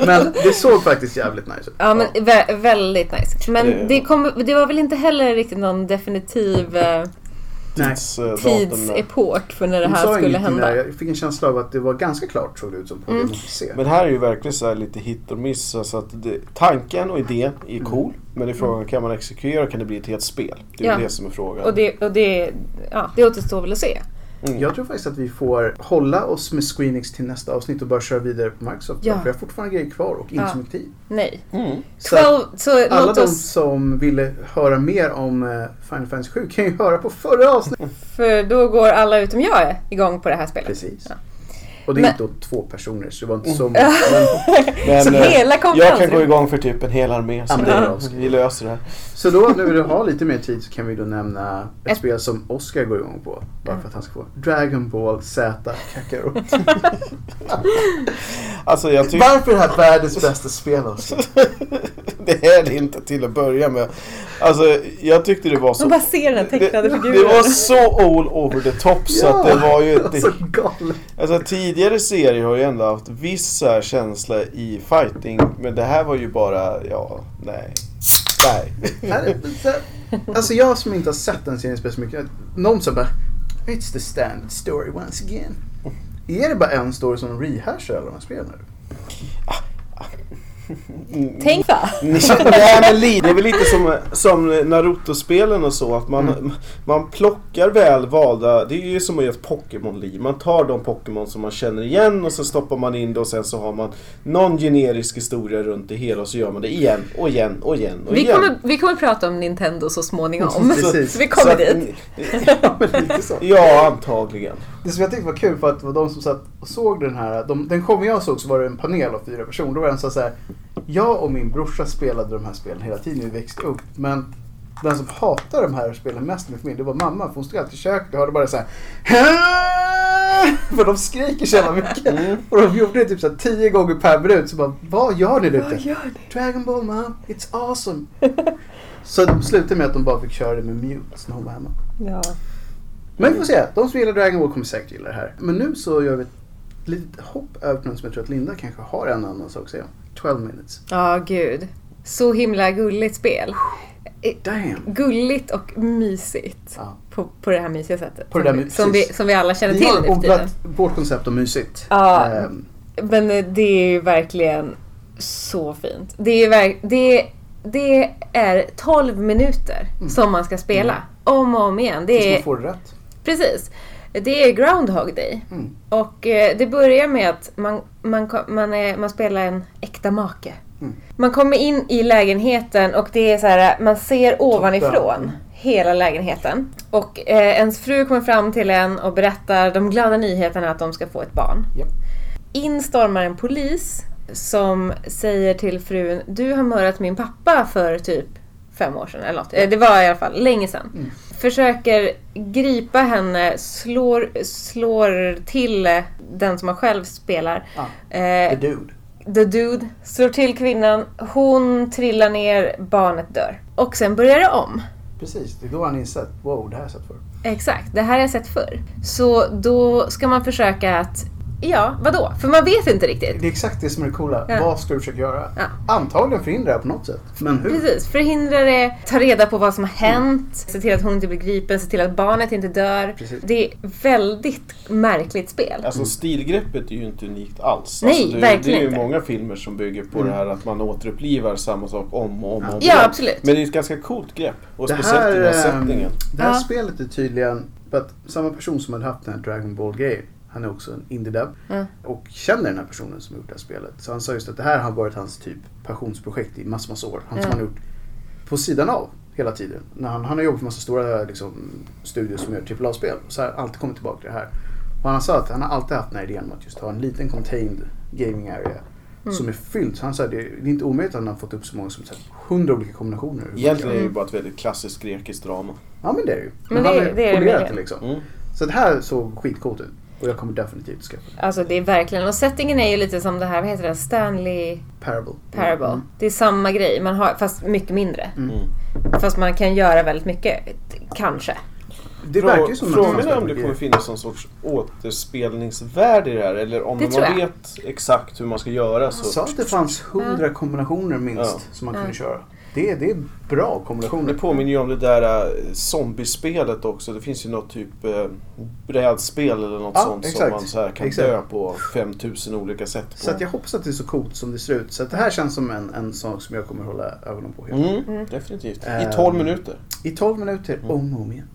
Speaker 2: Men det såg faktiskt jävligt nice ut.
Speaker 4: Ja men vä- väldigt nice.
Speaker 1: Det-
Speaker 4: Men det, kom, det var väl inte heller riktigt någon definitiv eh,
Speaker 2: Nej.
Speaker 1: Tids, eh, datum där.
Speaker 4: tidsepok för när det
Speaker 2: De
Speaker 4: här
Speaker 2: sa
Speaker 4: skulle
Speaker 2: ingenting
Speaker 4: hända. Mm.
Speaker 2: Där. Jag fick en känsla av att det var ganska klart såg det ut som på det man fick se.
Speaker 1: Men här är ju verkligen så här lite hit och miss. Alltså att det, tanken och idén är
Speaker 4: Mm.
Speaker 1: cool. Men det är frågan, kan man exekvera och kan det bli ett helt spel? Det är
Speaker 4: Ja.
Speaker 1: det som är frågan.
Speaker 4: Och det, och det, ja, det återstår väl att se.
Speaker 1: Mm.
Speaker 2: Jag tror faktiskt att vi får hålla oss med Screenix till nästa avsnitt och bara köra vidare på Microsoft.
Speaker 4: Ja.
Speaker 2: För jag har fortfarande grejer kvar och inte
Speaker 4: Ja.
Speaker 2: så mycket tid.
Speaker 4: Nej.
Speaker 1: Mm.
Speaker 2: Så att
Speaker 4: 12, så
Speaker 2: alla
Speaker 4: låt
Speaker 2: de
Speaker 4: oss,
Speaker 2: som ville höra mer om eh, Final Fantasy 7 kan ju höra på förra avsnittet.
Speaker 4: för då går alla utom jag igång på det här spelet.
Speaker 2: Precis. Och det är
Speaker 4: Men-
Speaker 2: då två personer så det var inte så många. Men,
Speaker 1: Men,
Speaker 4: Så
Speaker 1: eh,
Speaker 4: hela
Speaker 1: jag kan
Speaker 4: konferensen.
Speaker 1: gå igång för typ en hel armé. Så
Speaker 2: men det är bra.
Speaker 1: det, vi löser det här.
Speaker 2: så då när vi har lite mer tid så kan vi då nämna ett,
Speaker 4: Ett-
Speaker 2: spel som Oscar går igång på. Bara för att han ska få Dragon Ball Z Kakarot.
Speaker 1: Alltså jag tycker...
Speaker 2: Varför är det här världens bästa spel Oscar?
Speaker 1: det är det inte till att börja med. Alltså jag tyckte det var
Speaker 4: De
Speaker 1: så...
Speaker 4: bara ser den här
Speaker 2: Det-
Speaker 4: tecknade
Speaker 1: Det
Speaker 2: det
Speaker 4: figuren.
Speaker 1: var så all over the top så att det var ju...
Speaker 2: så
Speaker 1: Det,
Speaker 2: galet.
Speaker 1: alltså tidigare serier har ju ändå haft viss så här känsla i fighting. Men det här var ju bara, ja, nej. Nej.
Speaker 2: Nej, men så- Alltså jag som inte har sett den serien speciellt mycket. Någon som bara It's the standard story once again. Är det bara en story som rehashar alla de här spelen nu?
Speaker 4: Tänk va?
Speaker 1: Mm. Nej, men li- det är väl lite som, som Naruto-spelen och så att man, man plockar välvalda, det är ju som att göra ett Pokémon-liv. Man tar de Pokémon som man känner igen och så stoppar man in det och sen så har man någon generisk historia runt det hela och så gör man det igen och igen och igen och
Speaker 4: Vi
Speaker 1: igen.
Speaker 4: kommer, vi kommer prata om Nintendo så småningom.
Speaker 2: Precis.
Speaker 4: Så vi kommer
Speaker 1: att-
Speaker 4: dit.
Speaker 2: Ja, men lite så.
Speaker 1: Ja, antagligen.
Speaker 2: Det som jag tyckte var kul för att det var de som satt och såg den här. De, den showen jag såg så var det en panel av fyra personer. Då var det en som sa så här. Jag och min brorsa spelade de här spelen hela tiden när vi växte upp. Men den som hatade de här spelen mest i min familj, det var mamma. För hon stod alltid i köket och hörde bara så här. För de skriker så jävla mycket. Och de gjorde det typ så här tio gånger per minut. Så bara, vad gör ni där
Speaker 4: Vad
Speaker 2: ute?
Speaker 4: gör ni?
Speaker 2: Dragon Ball man, it's awesome. så de slutade med att de bara fick köra det med mute när hon var hemma.
Speaker 4: Ja.
Speaker 2: Men vi får se. De som gillar Dragon Ball kommer säkert gilla det här. Men nu så gör vi ett litet hopp över till något som jag tror att Linda kanske har en annan sak att säga om. 12 minutes.
Speaker 4: Ja, gud. Så himla gulligt spel. Eh,
Speaker 2: Damn!
Speaker 4: Gulligt och mysigt.
Speaker 2: Ja.
Speaker 4: På, på det här mysiga sättet.
Speaker 2: På det där
Speaker 4: som, vi-
Speaker 2: mysiga-
Speaker 4: som, vi, som vi alla känner
Speaker 2: Vi
Speaker 4: till nu
Speaker 2: har
Speaker 4: för tiden.
Speaker 2: odlat vårt koncept om mysigt.
Speaker 4: Ja.
Speaker 2: Ehm,
Speaker 4: Men eh, det är ju verkligen så fint. Det är, verk- det, det är 12 minuter som man ska spela. Om och om igen.
Speaker 2: Mm. tills
Speaker 4: Det
Speaker 2: man
Speaker 4: är,
Speaker 2: får det rätt.
Speaker 4: precis. Det är Groundhog Day.
Speaker 2: Mm.
Speaker 4: Och eh, det börjar med att man, man, ko- man, är, man spelar en äkta make.
Speaker 2: Mm.
Speaker 4: Man kommer in i lägenheten och det är så här, man ser ovanifrån hela lägenheten. Och eh, ens fru kommer fram till en och berättar de glada nyheterna att de ska få ett barn.
Speaker 2: Japp.
Speaker 4: In stormar en polis som säger till frun, du har mördat min pappa för typ fem år sedan eller något. Eh, Det var i alla fall länge sedan. Försöker gripa henne, slår, slår till den som man själv spelar.
Speaker 2: Ah.
Speaker 4: Eh,
Speaker 2: The dude.
Speaker 4: The Dude slår till kvinnan, hon trillar ner, barnet dör. Och sen börjar det om.
Speaker 2: Precis, det är då han insett. Wow, det här har jag sett förr.
Speaker 4: Exakt, det här har jag sett förr. Så då ska man försöka att, ja, vadå? För man vet inte riktigt.
Speaker 2: Det är exakt det som är det coola.
Speaker 4: Ja.
Speaker 2: Vad ska du försöka göra?
Speaker 4: Ja.
Speaker 2: Antagligen förhindra det här på något sätt. Men hur?
Speaker 4: Precis, förhindra det, ta reda på vad som har hänt, se till att hon inte blir gripen, se till att barnet inte dör.
Speaker 2: Precis.
Speaker 4: Det är väldigt märkligt spel.
Speaker 1: Alltså stilgreppet är ju inte unikt alls.
Speaker 4: Nej,
Speaker 1: alltså, det,
Speaker 4: verkligen
Speaker 1: Det är ju
Speaker 4: inte.
Speaker 1: många filmer som bygger på det här att man återupplivar samma sak om och om och om
Speaker 4: Ja,
Speaker 1: igen.
Speaker 4: absolut.
Speaker 1: Men det är ett ganska coolt grepp. Och
Speaker 2: Det
Speaker 1: speciellt i den här
Speaker 2: ehm,
Speaker 1: sättningen.
Speaker 2: Det här
Speaker 4: Ja.
Speaker 2: spelet är tydligen, för att samma person som hade haft den här Dragon Ball grejen, han är också en indie-dev
Speaker 4: Ja.
Speaker 2: och känner den här personen som har gjort det här spelet. Så han sa just att det här har varit hans typ passionsprojekt i massor, massor år. Han som
Speaker 4: Ja.
Speaker 2: han har gjort på sidan av hela tiden. När han, han har jobbat för massa stora liksom, studios som gör AAA-spel. Så har han alltid kommit tillbaka till det här. Och han sa att han har alltid haft den här idén om att just ha en liten contained gaming area.
Speaker 4: Mm.
Speaker 2: som är fyllt. Så han, så här, det, det är inte omöjligt att han har fått upp så många som så här, 100 olika kombinationer.
Speaker 1: Egentligen är det ju bara ett väldigt klassiskt grekiskt drama.
Speaker 2: Ja men det är det ju.
Speaker 4: Men
Speaker 2: han
Speaker 4: det-
Speaker 2: har
Speaker 4: det är det
Speaker 2: polerat det
Speaker 4: verkligen.
Speaker 2: liksom.
Speaker 1: Mm.
Speaker 2: Så det här såg skitcoolt ut. Och jag kommer definitivt skaffa det.
Speaker 4: Alltså det är verkligen, och settingen är ju lite som det här, vad heter det, Stanley
Speaker 2: Parable.
Speaker 4: Parable.
Speaker 2: Mm.
Speaker 4: Det är samma grej, man har, fast mycket mindre.
Speaker 1: Mm.
Speaker 4: Fast man kan göra väldigt mycket, kanske.
Speaker 2: Det
Speaker 1: Frå-
Speaker 2: verkar ju som
Speaker 1: Frågan
Speaker 2: någonting
Speaker 1: är
Speaker 2: som
Speaker 1: om det kommer
Speaker 2: verkar-
Speaker 1: finnas någon sorts återspelningsvärde i det här eller om
Speaker 4: Det tror
Speaker 1: man
Speaker 4: jag.
Speaker 1: vet exakt hur man ska göra så...
Speaker 2: Han sa att det fanns 100 kombinationer minst
Speaker 1: Ja.
Speaker 2: som man kunde köra. Det, det är bra kombinationer.
Speaker 1: Det påminner ju om det där äh, zombiespelet också. Det finns ju något typ äh, brädspel eller något
Speaker 2: Ja,
Speaker 1: sånt
Speaker 2: exakt.
Speaker 1: som man så här kan
Speaker 2: Exakt.
Speaker 1: dö på 5000 olika sätt. På.
Speaker 2: Så att jag hoppas att det är så coolt som det ser ut. Så att det här känns som en, en sak som jag kommer hålla ögonen på. helt.
Speaker 1: mm, Definitivt.
Speaker 2: Ehm.
Speaker 1: I 12 minuter.
Speaker 2: I 12 minuter
Speaker 1: Mm.
Speaker 2: om och om igen.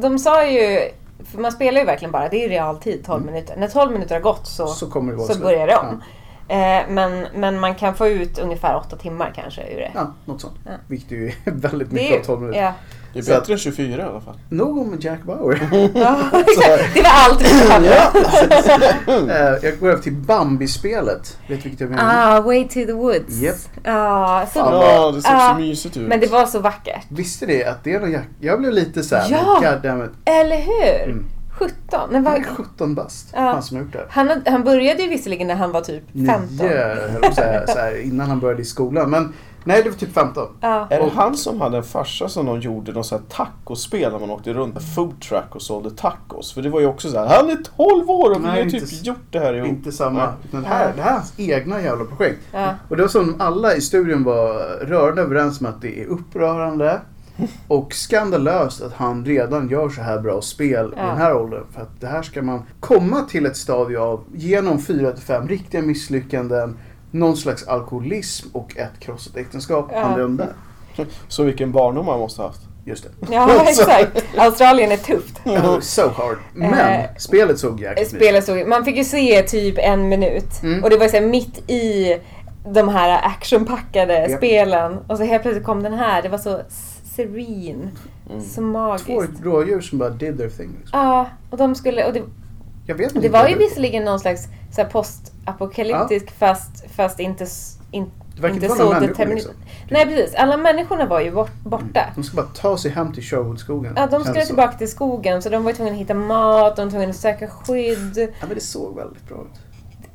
Speaker 4: De sa ju, för man spelar ju verkligen bara, det är ju realtid 12 minuter. När 12 minuter har gått så,
Speaker 2: Så kommer det vara
Speaker 4: så
Speaker 2: slut.
Speaker 4: börjar det om. Eh, men, men man kan få ut ungefär 8 timmar kanske ur det.
Speaker 2: Ja, något sånt.
Speaker 4: Ja.
Speaker 2: Vilket ju är väldigt
Speaker 4: Det är
Speaker 2: mycket av
Speaker 4: ju-
Speaker 2: 12 minuter.
Speaker 4: Ja.
Speaker 1: Det är
Speaker 2: Så att-
Speaker 1: bättre än 24 i alla fall.
Speaker 2: Nog om Jack Bauer.
Speaker 4: Ja, exakt. det var allt vi behövde.
Speaker 2: Eh, jag går över till Bambi-spelet. Vet du vilket jag menar?
Speaker 4: Ah, Way to the Woods.
Speaker 2: Japp.
Speaker 4: Ah, så
Speaker 2: Fan,
Speaker 1: Ja, det ser
Speaker 4: Ja,
Speaker 1: så mysigt ut.
Speaker 4: Men det var så vackert.
Speaker 2: Visste ni att det är någon Jack... Jag blev lite såhär...
Speaker 4: Ja!
Speaker 2: God damn it.
Speaker 4: Eller hur?
Speaker 2: Mm.
Speaker 4: 17. Men
Speaker 2: Han är
Speaker 4: vad,
Speaker 2: 17 bast.
Speaker 4: Ja.
Speaker 2: Han som har gjort det.
Speaker 4: han, hade- han började ju visserligen när han var typ 15.
Speaker 2: Nio, höll jag på att säga, så här, innan han började i skolan. Men nej, det var typ 15.
Speaker 4: Ja.
Speaker 1: Är det han som hade en farsa som de gjorde någon sån här tacospel när man åkte runt med food truck och sålde tacos? För det var ju också så här, han är 12 år och vi
Speaker 2: Nej,
Speaker 1: har
Speaker 2: inte
Speaker 1: typ
Speaker 2: s-
Speaker 1: gjort det här ihop.
Speaker 2: Inte samma.
Speaker 1: Nej.
Speaker 2: Den här, det här är hans egna jävla projekt.
Speaker 4: Ja.
Speaker 2: Och det var som alla i studion var rörande överens om att det är upprörande och skandalöst att han redan gör så här bra spel i
Speaker 4: Ja.
Speaker 2: den här åldern. För att det här ska man komma till ett stadie av genom 4-5 riktiga misslyckanden, någon slags alkoholism och ett krossat äktenskap.
Speaker 4: Ja.
Speaker 2: Han dömde.
Speaker 1: Så vilken barndom han måste ha haft.
Speaker 2: Just det.
Speaker 4: Ja, exakt. Australien är tufft.
Speaker 2: That was so hard. Men
Speaker 4: Eh,
Speaker 2: spelet såg jäkligt
Speaker 4: Spelet såg, man fick ju se typ en minut
Speaker 2: Mm.
Speaker 4: och det var ju så här mitt i de här actionpackade
Speaker 2: Japp.
Speaker 4: spelen och så helt plötsligt kom den här. Det var så serene. Så magiskt.
Speaker 2: Mm. Två rådjur som bara did their thing. Liksom.
Speaker 4: Ja, och de skulle... Och det,
Speaker 2: Jag vet inte
Speaker 4: det var
Speaker 2: vad
Speaker 4: ju
Speaker 2: beror på.
Speaker 4: visserligen någon slags så här postapokalyptisk fast, fast inte, s- in,
Speaker 2: Det verkar
Speaker 4: inte
Speaker 2: inte vara några
Speaker 4: så
Speaker 2: människor
Speaker 4: deterministisk.
Speaker 2: liksom.
Speaker 4: Nej precis, alla människorna var ju bort, borta.
Speaker 2: Mm, De ska bara ta sig hem till Sherwoodskogen.
Speaker 4: Ja, de
Speaker 2: känns
Speaker 4: skulle
Speaker 2: det som.
Speaker 4: tillbaka till skogen så de var ju tvungna att hitta mat, de var tvungna att söka skydd.
Speaker 2: Ja, men det såg väldigt bra ut.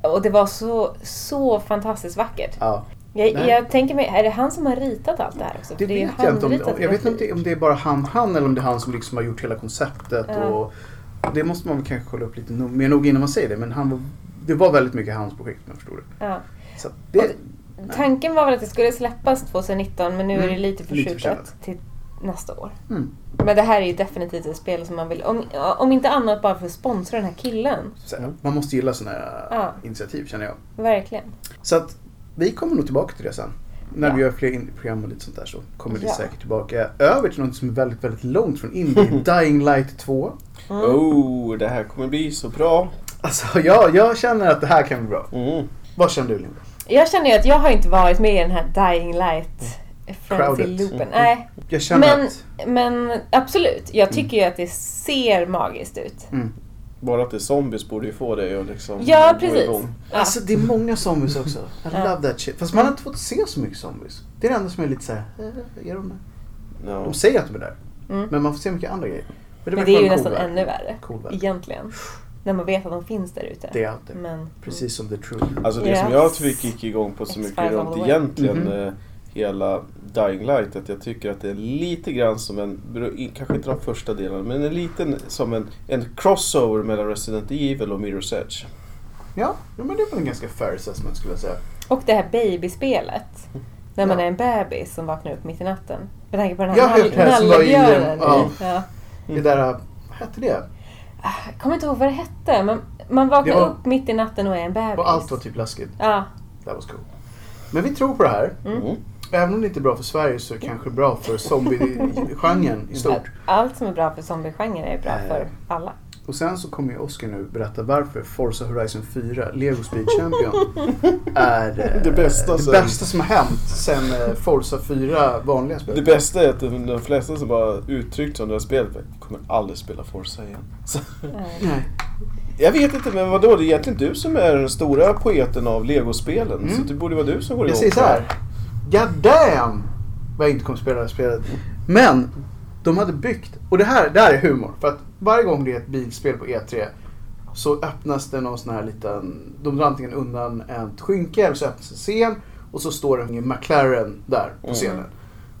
Speaker 4: Och det var så, så fantastiskt vackert.
Speaker 2: Ja.
Speaker 4: Jag,
Speaker 2: Nej.
Speaker 4: jag tänker mig, är det han som har ritat allt det här också?
Speaker 2: Det
Speaker 4: För är ju
Speaker 2: vet jag inte om,
Speaker 4: handritat
Speaker 2: om Jag vet inte om
Speaker 4: grafikt.
Speaker 2: det, om det är bara han, han eller om det är han som liksom har gjort hela konceptet.
Speaker 4: Ja.
Speaker 2: Och det måste man väl kanske kolla upp lite no- mer nog innan man säger det. Men han var, det var väldigt mycket hans projekt om jag förstod det.
Speaker 4: Ja.
Speaker 2: Så att det,
Speaker 4: Tanken var väl att det skulle släppas 2019 men nu är det
Speaker 2: Mm,
Speaker 4: lite
Speaker 2: lite
Speaker 4: förskjutet
Speaker 2: försenat.
Speaker 4: till nästa år.
Speaker 2: mm,
Speaker 4: Men det här är ju definitivt ett spel som man vill, om, om inte annat bara för att sponsra den här killen.
Speaker 2: så här, man måste gilla sådana här
Speaker 4: Mm. Ja.
Speaker 2: initiativ känner jag.
Speaker 4: Verkligen.
Speaker 2: Så att vi kommer nog tillbaka till det sen. När vi
Speaker 4: Ja.
Speaker 2: gör fler indie-program och lite sånt där så kommer det
Speaker 4: Ja.
Speaker 2: säkert tillbaka. Över till något som är väldigt, väldigt långt från indie. Dying Light 2.
Speaker 4: Mm.
Speaker 2: Mm.
Speaker 1: Oh, det här kommer bli så bra.
Speaker 2: Alltså jag, jag känner att det här kan bli bra.
Speaker 1: Mm.
Speaker 2: Vad känner du Linda?
Speaker 4: Jag känner ju att jag har inte varit med i den här Dying Light Frenzy-loopen.
Speaker 1: Crowded.
Speaker 4: Nej,
Speaker 2: Jag Mm. känner
Speaker 4: Men-
Speaker 2: att... Mm.
Speaker 4: men absolut. Jag tycker ju att det ser magiskt ut.
Speaker 1: Bara att det är zombies borde ju få dig att liksom
Speaker 4: Ja,
Speaker 1: gå
Speaker 4: precis.
Speaker 1: igång.
Speaker 4: Ja.
Speaker 2: Alltså det är många zombies också. I
Speaker 4: Ja.
Speaker 2: love that shit. Fast man har inte fått se så mycket zombies. Det är det enda som är lite såhär, är de där?
Speaker 1: Ja.
Speaker 2: De säger att de är där.
Speaker 4: Mm.
Speaker 2: Men man får se mycket andra grejer.
Speaker 4: Men
Speaker 2: verkar
Speaker 4: det är ju
Speaker 2: vara en
Speaker 4: nästan
Speaker 2: cool värld.
Speaker 4: ännu värre.
Speaker 2: Cool värld.
Speaker 4: Egentligen. När man vet att de finns där ute.
Speaker 2: Det är allt det.
Speaker 4: Men
Speaker 2: Precis som The True.
Speaker 1: Alltså det som
Speaker 4: Yes.
Speaker 1: jag tycker gick igång på så mycket
Speaker 4: X-Files all
Speaker 1: runt
Speaker 4: the way.
Speaker 1: egentligen
Speaker 2: Mhm.
Speaker 1: eh, hela Dying Light att jag tycker att det är lite grann som en, bero- kanske inte de första delarna, men en liten som en, en crossover mellan Resident Evil och Mirror's Edge.
Speaker 2: Ja, ja, men det är väl en ganska fair assessment skulle jag säga.
Speaker 4: Och det här babyspelet. När man
Speaker 2: Ja.
Speaker 4: är en bebis som vaknar upp mitt i natten. Med tanke på den
Speaker 2: Ja,
Speaker 4: här nall-
Speaker 2: det här som var i-
Speaker 4: nallebjörnen.
Speaker 2: ja.
Speaker 4: Ja.
Speaker 2: Det där, äh, vad hette det?
Speaker 4: Jag Ah, kommer inte ihåg vad det hette. Men man vaknar
Speaker 2: Det var-
Speaker 4: upp mitt i natten och är en bebis.
Speaker 2: Och allt var typ läskigt.
Speaker 4: Ja,
Speaker 2: That was cool. Men vi tror på det här.
Speaker 1: Mm.
Speaker 2: Även om det inte är bra för Sverige så är det kanske bra för zombie-genren i stort.
Speaker 4: allt som är bra för zombiegenren är bra
Speaker 2: Eh.
Speaker 4: för alla.
Speaker 2: Och sen så kommer ju Oscar nu berätta varför Forza Horizon 4, Lego Speed Champion, är eh,
Speaker 1: Det bästa
Speaker 2: det
Speaker 1: sen-
Speaker 2: bästa som har hänt sen eh, Forza 4 vanliga
Speaker 1: Det
Speaker 2: spel.
Speaker 1: bästa är att de, de flesta som bara uttryckt som det här spelet "Jag kommer aldrig spela Forza igen. Så,
Speaker 4: Eh,
Speaker 2: Nej.
Speaker 1: Jag vet inte, men vadå? Det är egentligen du som är den stora poeten av legospelen. Så det borde vara du som går
Speaker 2: Mm. Jag
Speaker 1: igång
Speaker 2: säger
Speaker 1: på
Speaker 2: så här. God damn! Vad jag inte kommer spela det här spelet. Men de hade byggt, och det här, det här är humor. För att varje gång det är ett bilspel på E3 så öppnas det någon sån här liten, de drar antingen undan ett skynke eller så öppnas en scen och så står det en McLaren där på scenen.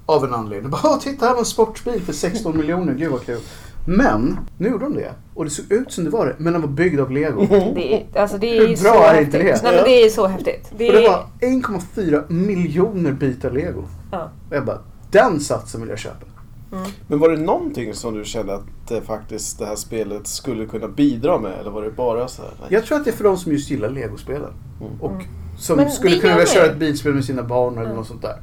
Speaker 2: Av en anledning. Bara, "Åh, titta här var en sportbil för 16 miljoner, gud vad kul. Men, nu gjorde de det. Och det såg ut som det var det, men den var byggd av lego.
Speaker 4: Eh,
Speaker 3: Det är, alltså det är
Speaker 2: Hur
Speaker 3: ju
Speaker 2: bra
Speaker 3: så
Speaker 2: är
Speaker 3: häftigt.
Speaker 2: inte det?
Speaker 3: Nej, men det är ju så häftigt. Det
Speaker 2: Och det
Speaker 3: är,
Speaker 2: var 1,4 miljoner bitar lego.
Speaker 3: ja.
Speaker 2: Och jag bara, den satsen vill jag köpa.
Speaker 1: Men var det någonting som du kände att eh, faktiskt det här spelet skulle kunna bidra med? Eller var det bara så här? nej?
Speaker 2: Jag tror att det är för de som just gillar legospelen. Och som
Speaker 4: Mm. Men
Speaker 2: skulle
Speaker 4: det
Speaker 2: kunna
Speaker 4: gör
Speaker 2: vilja köra
Speaker 4: det.
Speaker 2: ett bilspel med sina barn eller något sånt där.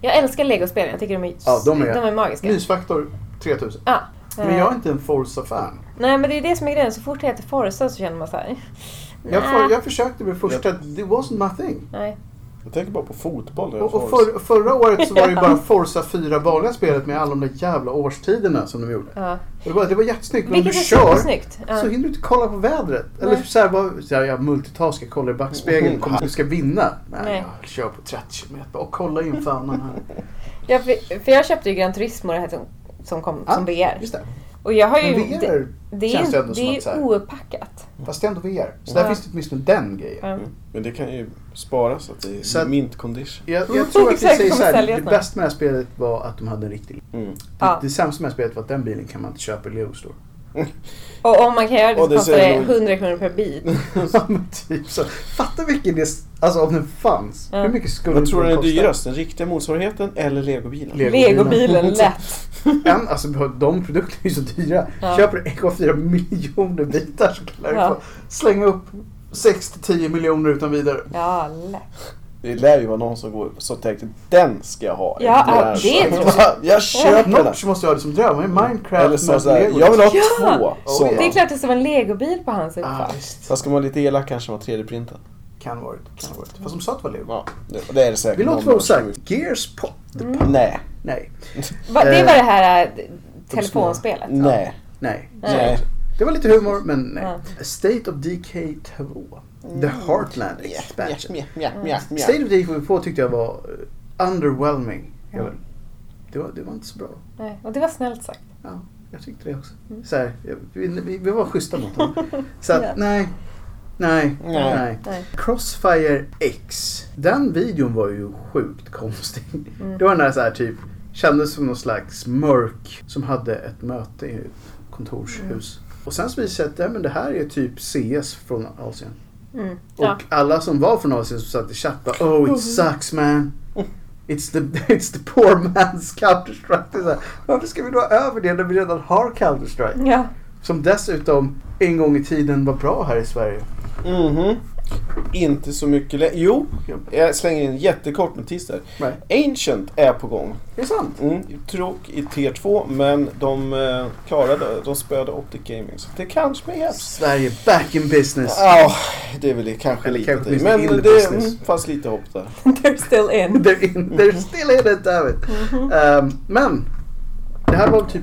Speaker 4: Jag älskar legospelen. Jag tycker de är,
Speaker 2: Ja, de är-
Speaker 4: magiska.
Speaker 2: Mysfaktor 3000.
Speaker 4: Ja. Eh,
Speaker 2: Men jag är inte en Forza-fan.
Speaker 4: Nej men det är det som är grejen. Så fort det heter Forza så känner man så här.
Speaker 2: Jag,
Speaker 4: Nä.
Speaker 2: för, jag försökte med första, det wasn't my thing.
Speaker 4: Nej.
Speaker 1: Jag tänker bara på fotboll. när jag
Speaker 2: Och, och
Speaker 1: får-
Speaker 2: för, förra året så var det ju bara Forza 4 vanliga spelet med alla de där jävla årstiderna som de gjorde.
Speaker 4: Ja.
Speaker 2: Och det, var, det var jättesnyggt, men om du
Speaker 4: Vilket är
Speaker 2: kör
Speaker 4: supersnyggt. Ja.
Speaker 2: så hinner du inte kolla på vädret. Eller
Speaker 4: Nej.
Speaker 2: så här, bara, så här, jag multitaskar, kollar i
Speaker 1: Mm.
Speaker 2: backspegeln, kommer du ska vinna? Nej,
Speaker 4: Nej.
Speaker 2: jag kör på 30 kilometer och kolla in fanan här.
Speaker 4: Ja, för, för jag köpte ju Gran Turismo det här som, som kom
Speaker 2: Ja,
Speaker 4: som VR.
Speaker 2: Just det.
Speaker 4: Och jag har ju...
Speaker 2: Ah. Men
Speaker 4: det,
Speaker 2: VR
Speaker 4: det
Speaker 2: känns det
Speaker 4: är,
Speaker 2: ändå som
Speaker 4: det
Speaker 2: att så här-
Speaker 4: är ouppackat.
Speaker 2: Fast det är ändå VR. Så där
Speaker 4: Ja.
Speaker 2: finns det åtminstone den grejen.
Speaker 4: Ja.
Speaker 1: Men det kan ju sparas att det är
Speaker 2: Så att-
Speaker 1: mint condition.
Speaker 2: Jag, jag tror att vi
Speaker 4: Exakt,
Speaker 2: säger
Speaker 4: de
Speaker 2: så här,
Speaker 4: säljer
Speaker 2: det
Speaker 4: den.
Speaker 2: bästa med det här spelet var att de hade en riktig
Speaker 1: Mm.
Speaker 4: Ja.
Speaker 2: Det, det sämsta med det här spelet var att den bilen kan man inte köpa i Lego Store.
Speaker 4: Och om man kan göra det
Speaker 1: Och
Speaker 4: så
Speaker 1: det
Speaker 4: kostar
Speaker 1: säger
Speaker 4: det
Speaker 1: nog-
Speaker 4: 100 kronor per bil.
Speaker 2: Ja, men typ så. Fatta vilken det, alltså om den fanns.
Speaker 4: Ja.
Speaker 2: Hur mycket skulle
Speaker 1: Vad tror du
Speaker 2: den
Speaker 1: är
Speaker 2: kosta?
Speaker 1: dyrast? Den riktiga motsvarigheten eller legobilen?
Speaker 2: Legobilen.
Speaker 4: Legobilen, lätt.
Speaker 2: En, alltså de produkterna är ju så dyra.
Speaker 4: Ja.
Speaker 2: Köper du 1,4 miljoner bitar så kan du
Speaker 4: Ja.
Speaker 2: få slänga upp 6-10 miljoner utan vidare.
Speaker 4: Ja, lätt.
Speaker 1: Det lär ju vara någon som, går, som tänkte den ska jag ha.
Speaker 4: Ja,
Speaker 1: där,
Speaker 4: det är
Speaker 1: så.
Speaker 4: inte
Speaker 1: Jag köper den.
Speaker 2: Notch måste jag ha det som dröm. Vad är Minecraft
Speaker 1: Eller så,
Speaker 2: med
Speaker 1: så här,
Speaker 2: Lego?
Speaker 1: jag vill ha
Speaker 4: Ja!
Speaker 1: två sådana.
Speaker 4: Det är klart det ska vara en legobil på hans
Speaker 2: Ah,
Speaker 4: uppfatt.
Speaker 2: visst.
Speaker 1: Fast ska man vara lite elak kanske vara 3D-printen.
Speaker 2: Kan varit, kan varit. Fast de sa att det var Lego.
Speaker 1: Ja, det, det är det säkert.
Speaker 2: Vi låter
Speaker 1: någon
Speaker 2: vara
Speaker 1: av oss som
Speaker 2: osagt. Gears Pop.
Speaker 4: Mm.
Speaker 1: vill. Nej,
Speaker 2: Nej.
Speaker 4: Va, det var
Speaker 2: Eh,
Speaker 4: det här eh, telefonspelet. va?
Speaker 1: nej,
Speaker 2: Nej.
Speaker 1: nej.
Speaker 2: Det var lite humor, men nej.
Speaker 4: Ja. Mm.
Speaker 2: State of Decay 2. The Heartland Expansion.
Speaker 1: Mjäk, mjäk, mjäk, mjäk.
Speaker 2: State of Decay 2 tyckte jag var eh, underwhelming. Jag vet- Det, var, det var inte så bra.
Speaker 4: Nej. Och det var snällt sagt.
Speaker 2: Ja, jag tyckte det också. Så här, vi, vi, vi var schyssta mot dem. Så att,
Speaker 4: Mm. Ja.
Speaker 2: nej, nej,
Speaker 1: Nej.
Speaker 2: nej.
Speaker 4: Nej.
Speaker 2: Crossfire X. Den videon var ju sjukt konstig.
Speaker 4: Mm.
Speaker 2: Det var den där så här typ, kändes som någon slags mörk som hade ett möte i ett kontorshus.
Speaker 4: Mm.
Speaker 2: Och sen så visade det sig att ja, men det här är typ CS från Asien.
Speaker 4: Mm.
Speaker 2: Och
Speaker 4: Ja.
Speaker 2: alla som var från Asien som satt i chatten Oh it sucks man. It's the, it's the poor man's Counter-Strike. Det är så här, Varför ska vi då över det när vi redan har Counter-Strike?
Speaker 4: Ja.
Speaker 2: Som dessutom en gång i tiden var bra här i Sverige.
Speaker 1: Mhm. Inte så mycket lä- Jo, jag slänger in en jättekort notis där.
Speaker 2: Nej.
Speaker 1: Ancient är på gång.
Speaker 2: Det är sant.
Speaker 1: Mm, tråk i T2 men de eh, klarade, de spöade Optic Gaming så det kanske behövs.
Speaker 2: Sverige back in business.
Speaker 1: Ja, det är väl det, kanske
Speaker 2: Eller
Speaker 1: lite
Speaker 2: kanske
Speaker 1: till.
Speaker 2: åtminstone
Speaker 1: Men
Speaker 2: in the
Speaker 1: det
Speaker 2: business.
Speaker 1: mm, fanns lite hopp där.
Speaker 4: They're still in.
Speaker 2: They're, in, they're still in it, damn it. Ehm, men det här var typ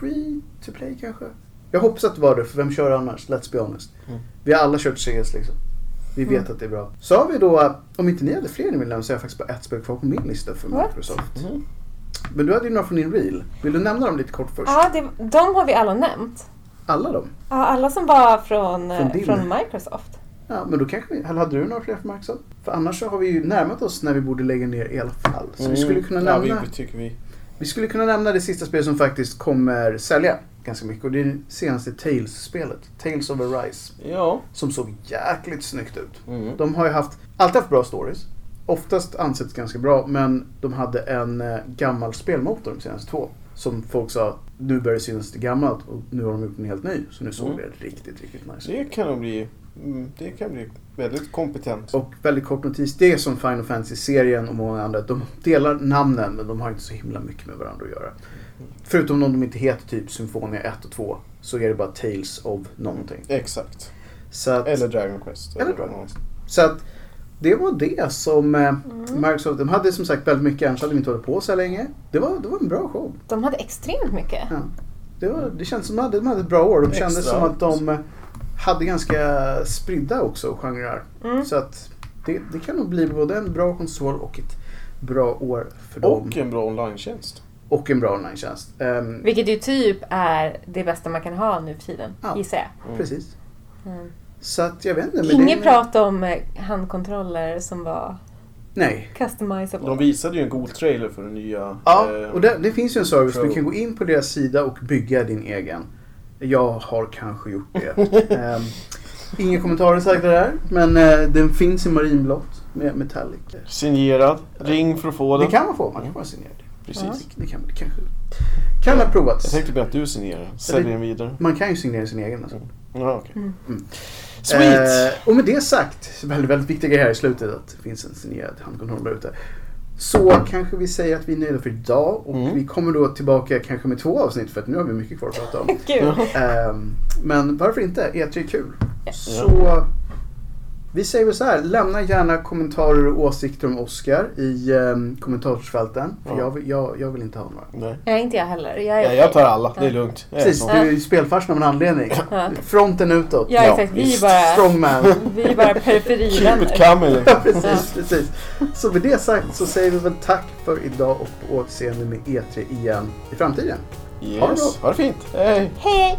Speaker 2: free to play kanske. Jag hoppas att det var det, för vem kör annars? Let's be honest.
Speaker 1: Mm.
Speaker 2: Vi har alla kört CS liksom. Vi
Speaker 4: Mm.
Speaker 2: vet att det är bra. Sa vi då, om inte ni hade fler ni vill nämna så har jag faktiskt bara ett spel kvar på min lista för
Speaker 4: What?
Speaker 2: Microsoft.
Speaker 1: Mhm.
Speaker 2: Men du hade ju några från din reel. Vill du nämna dem lite kort först?
Speaker 4: Ja, det, de har vi alla nämnt.
Speaker 2: Alla dem?
Speaker 4: Ja, alla som var från, eh,
Speaker 2: Från din.
Speaker 4: från Microsoft.
Speaker 2: Ja, men då kanske vi, eller hade du några fler från Microsoft? För annars så har vi ju närmat oss när vi borde lägga ner i alla fall. Så vi skulle kunna
Speaker 1: Mm. ja,
Speaker 2: nämna...
Speaker 1: vi, vi tycker vi.
Speaker 2: Vi skulle kunna nämna det sista spelet som faktiskt kommer sälja ganska mycket och det är det senaste Tales-spelet. Tales of Arise.
Speaker 1: Ja.
Speaker 2: Som såg jäkligt snyggt ut.
Speaker 1: Mm.
Speaker 2: De har ju haft, alltid haft bra stories. Oftast ansetts ganska bra men de hade en eh, gammal spelmotor de senaste två. Som folk sa, nu börjar det synas det gammalt och nu har de gjort en helt ny. Så nu såg
Speaker 1: Mm.
Speaker 2: det riktigt, riktigt nice ut.
Speaker 1: Det kan nog bli, mm, det kan bli väldigt kompetent.
Speaker 2: Och väldigt kort notis, det är som Final Fantasy-serien och många andra. De delar namnen men de har inte så himla mycket med varandra att göra. Förutom om de inte heter typ Symfonia 1 och 2 så är det bara Tales of någonting.
Speaker 1: Exakt.
Speaker 2: Så att,
Speaker 1: Eller Dragon Quest.
Speaker 2: Eller Dragon Quest. så att det var det som eh, Microsoft, de hade som sagt väldigt mycket, annars hade de inte hållit på så här länge. Det var, det var en bra show.
Speaker 4: De hade extremt mycket.
Speaker 2: Ja. Det, var, det kändes som att de hade, de hade ett bra år. De
Speaker 1: Extra.
Speaker 2: kändes som att de eh, hade ganska spridda också genrer. Så att det, det kan nog bli både en bra konsol och ett bra år för dem.
Speaker 1: Och en bra online-tjänst.
Speaker 2: Och en bra online-tjänst. Ehm,
Speaker 4: Vilket ju typ är det bästa man kan ha nu för tiden,
Speaker 2: Ja.
Speaker 4: gissar jag. Mm.
Speaker 2: Precis. Så att jag vet inte. men
Speaker 4: Inget
Speaker 2: det-
Speaker 4: prat om eh, handkontroller som var
Speaker 2: Nej.
Speaker 4: customizable.
Speaker 1: De visade ju en god trailer för den nya...
Speaker 2: Ja,
Speaker 1: eh,
Speaker 2: och det, det finns ju en service.
Speaker 1: Pro.
Speaker 2: Du kan gå in på deras sida och bygga din egen. Jag har kanske gjort det. Ehm, inga kommentarer sagda där. Men eh, den finns i marinblått med metallic.
Speaker 1: Signerad. Ring för att få den.
Speaker 2: Det kan man få. Man kan vara signerad.
Speaker 1: Precis.
Speaker 2: Alltså, Det kan, det kanske, kan ha
Speaker 1: Jag
Speaker 2: provats.
Speaker 1: tänkte bara att du signerar den. Säljer den vidare.
Speaker 2: Man kan ju signera sin egen. Alltså.
Speaker 1: Ja, okej. Sweet!
Speaker 2: Mm. Eh, och med det sagt, så är det väldigt, väldigt viktiga grejer här i slutet att det finns en signerad handkontroll där ute. Så kanske vi säger att vi är nöjda för idag och
Speaker 1: Mm.
Speaker 2: vi kommer då tillbaka kanske med två avsnitt för att nu har vi mycket kvar att prata om.
Speaker 4: Kul.
Speaker 2: Ehm, men varför inte? E3 är kul. Så vi säger väl så här, lämna gärna kommentarer och åsikter om Oscar i um, kommentarsfälten. För
Speaker 1: Ja.
Speaker 2: jag, vill- jag, jag vill inte ha några.
Speaker 1: Nej.
Speaker 4: Ja, inte jag heller. Jag är
Speaker 1: Ja, jag tar alla, det är lugnt. Jag är
Speaker 2: Precis,
Speaker 1: sån.
Speaker 2: du är ju spelfarsan av en anledning.
Speaker 4: Ja.
Speaker 2: Fronten utåt.
Speaker 4: Ja,
Speaker 1: Ja,
Speaker 4: exakt. Vi är
Speaker 1: visst.
Speaker 4: bara,
Speaker 2: Strongman.
Speaker 4: vi är bara
Speaker 1: Keep
Speaker 4: periferivänner.
Speaker 1: it coming!
Speaker 2: Ja, precis, precis. Så med det sagt så säger vi väl tack för idag E och på återseende med E3 igen i framtiden.
Speaker 1: Yes. Ha det fint! Hej!
Speaker 4: Hej!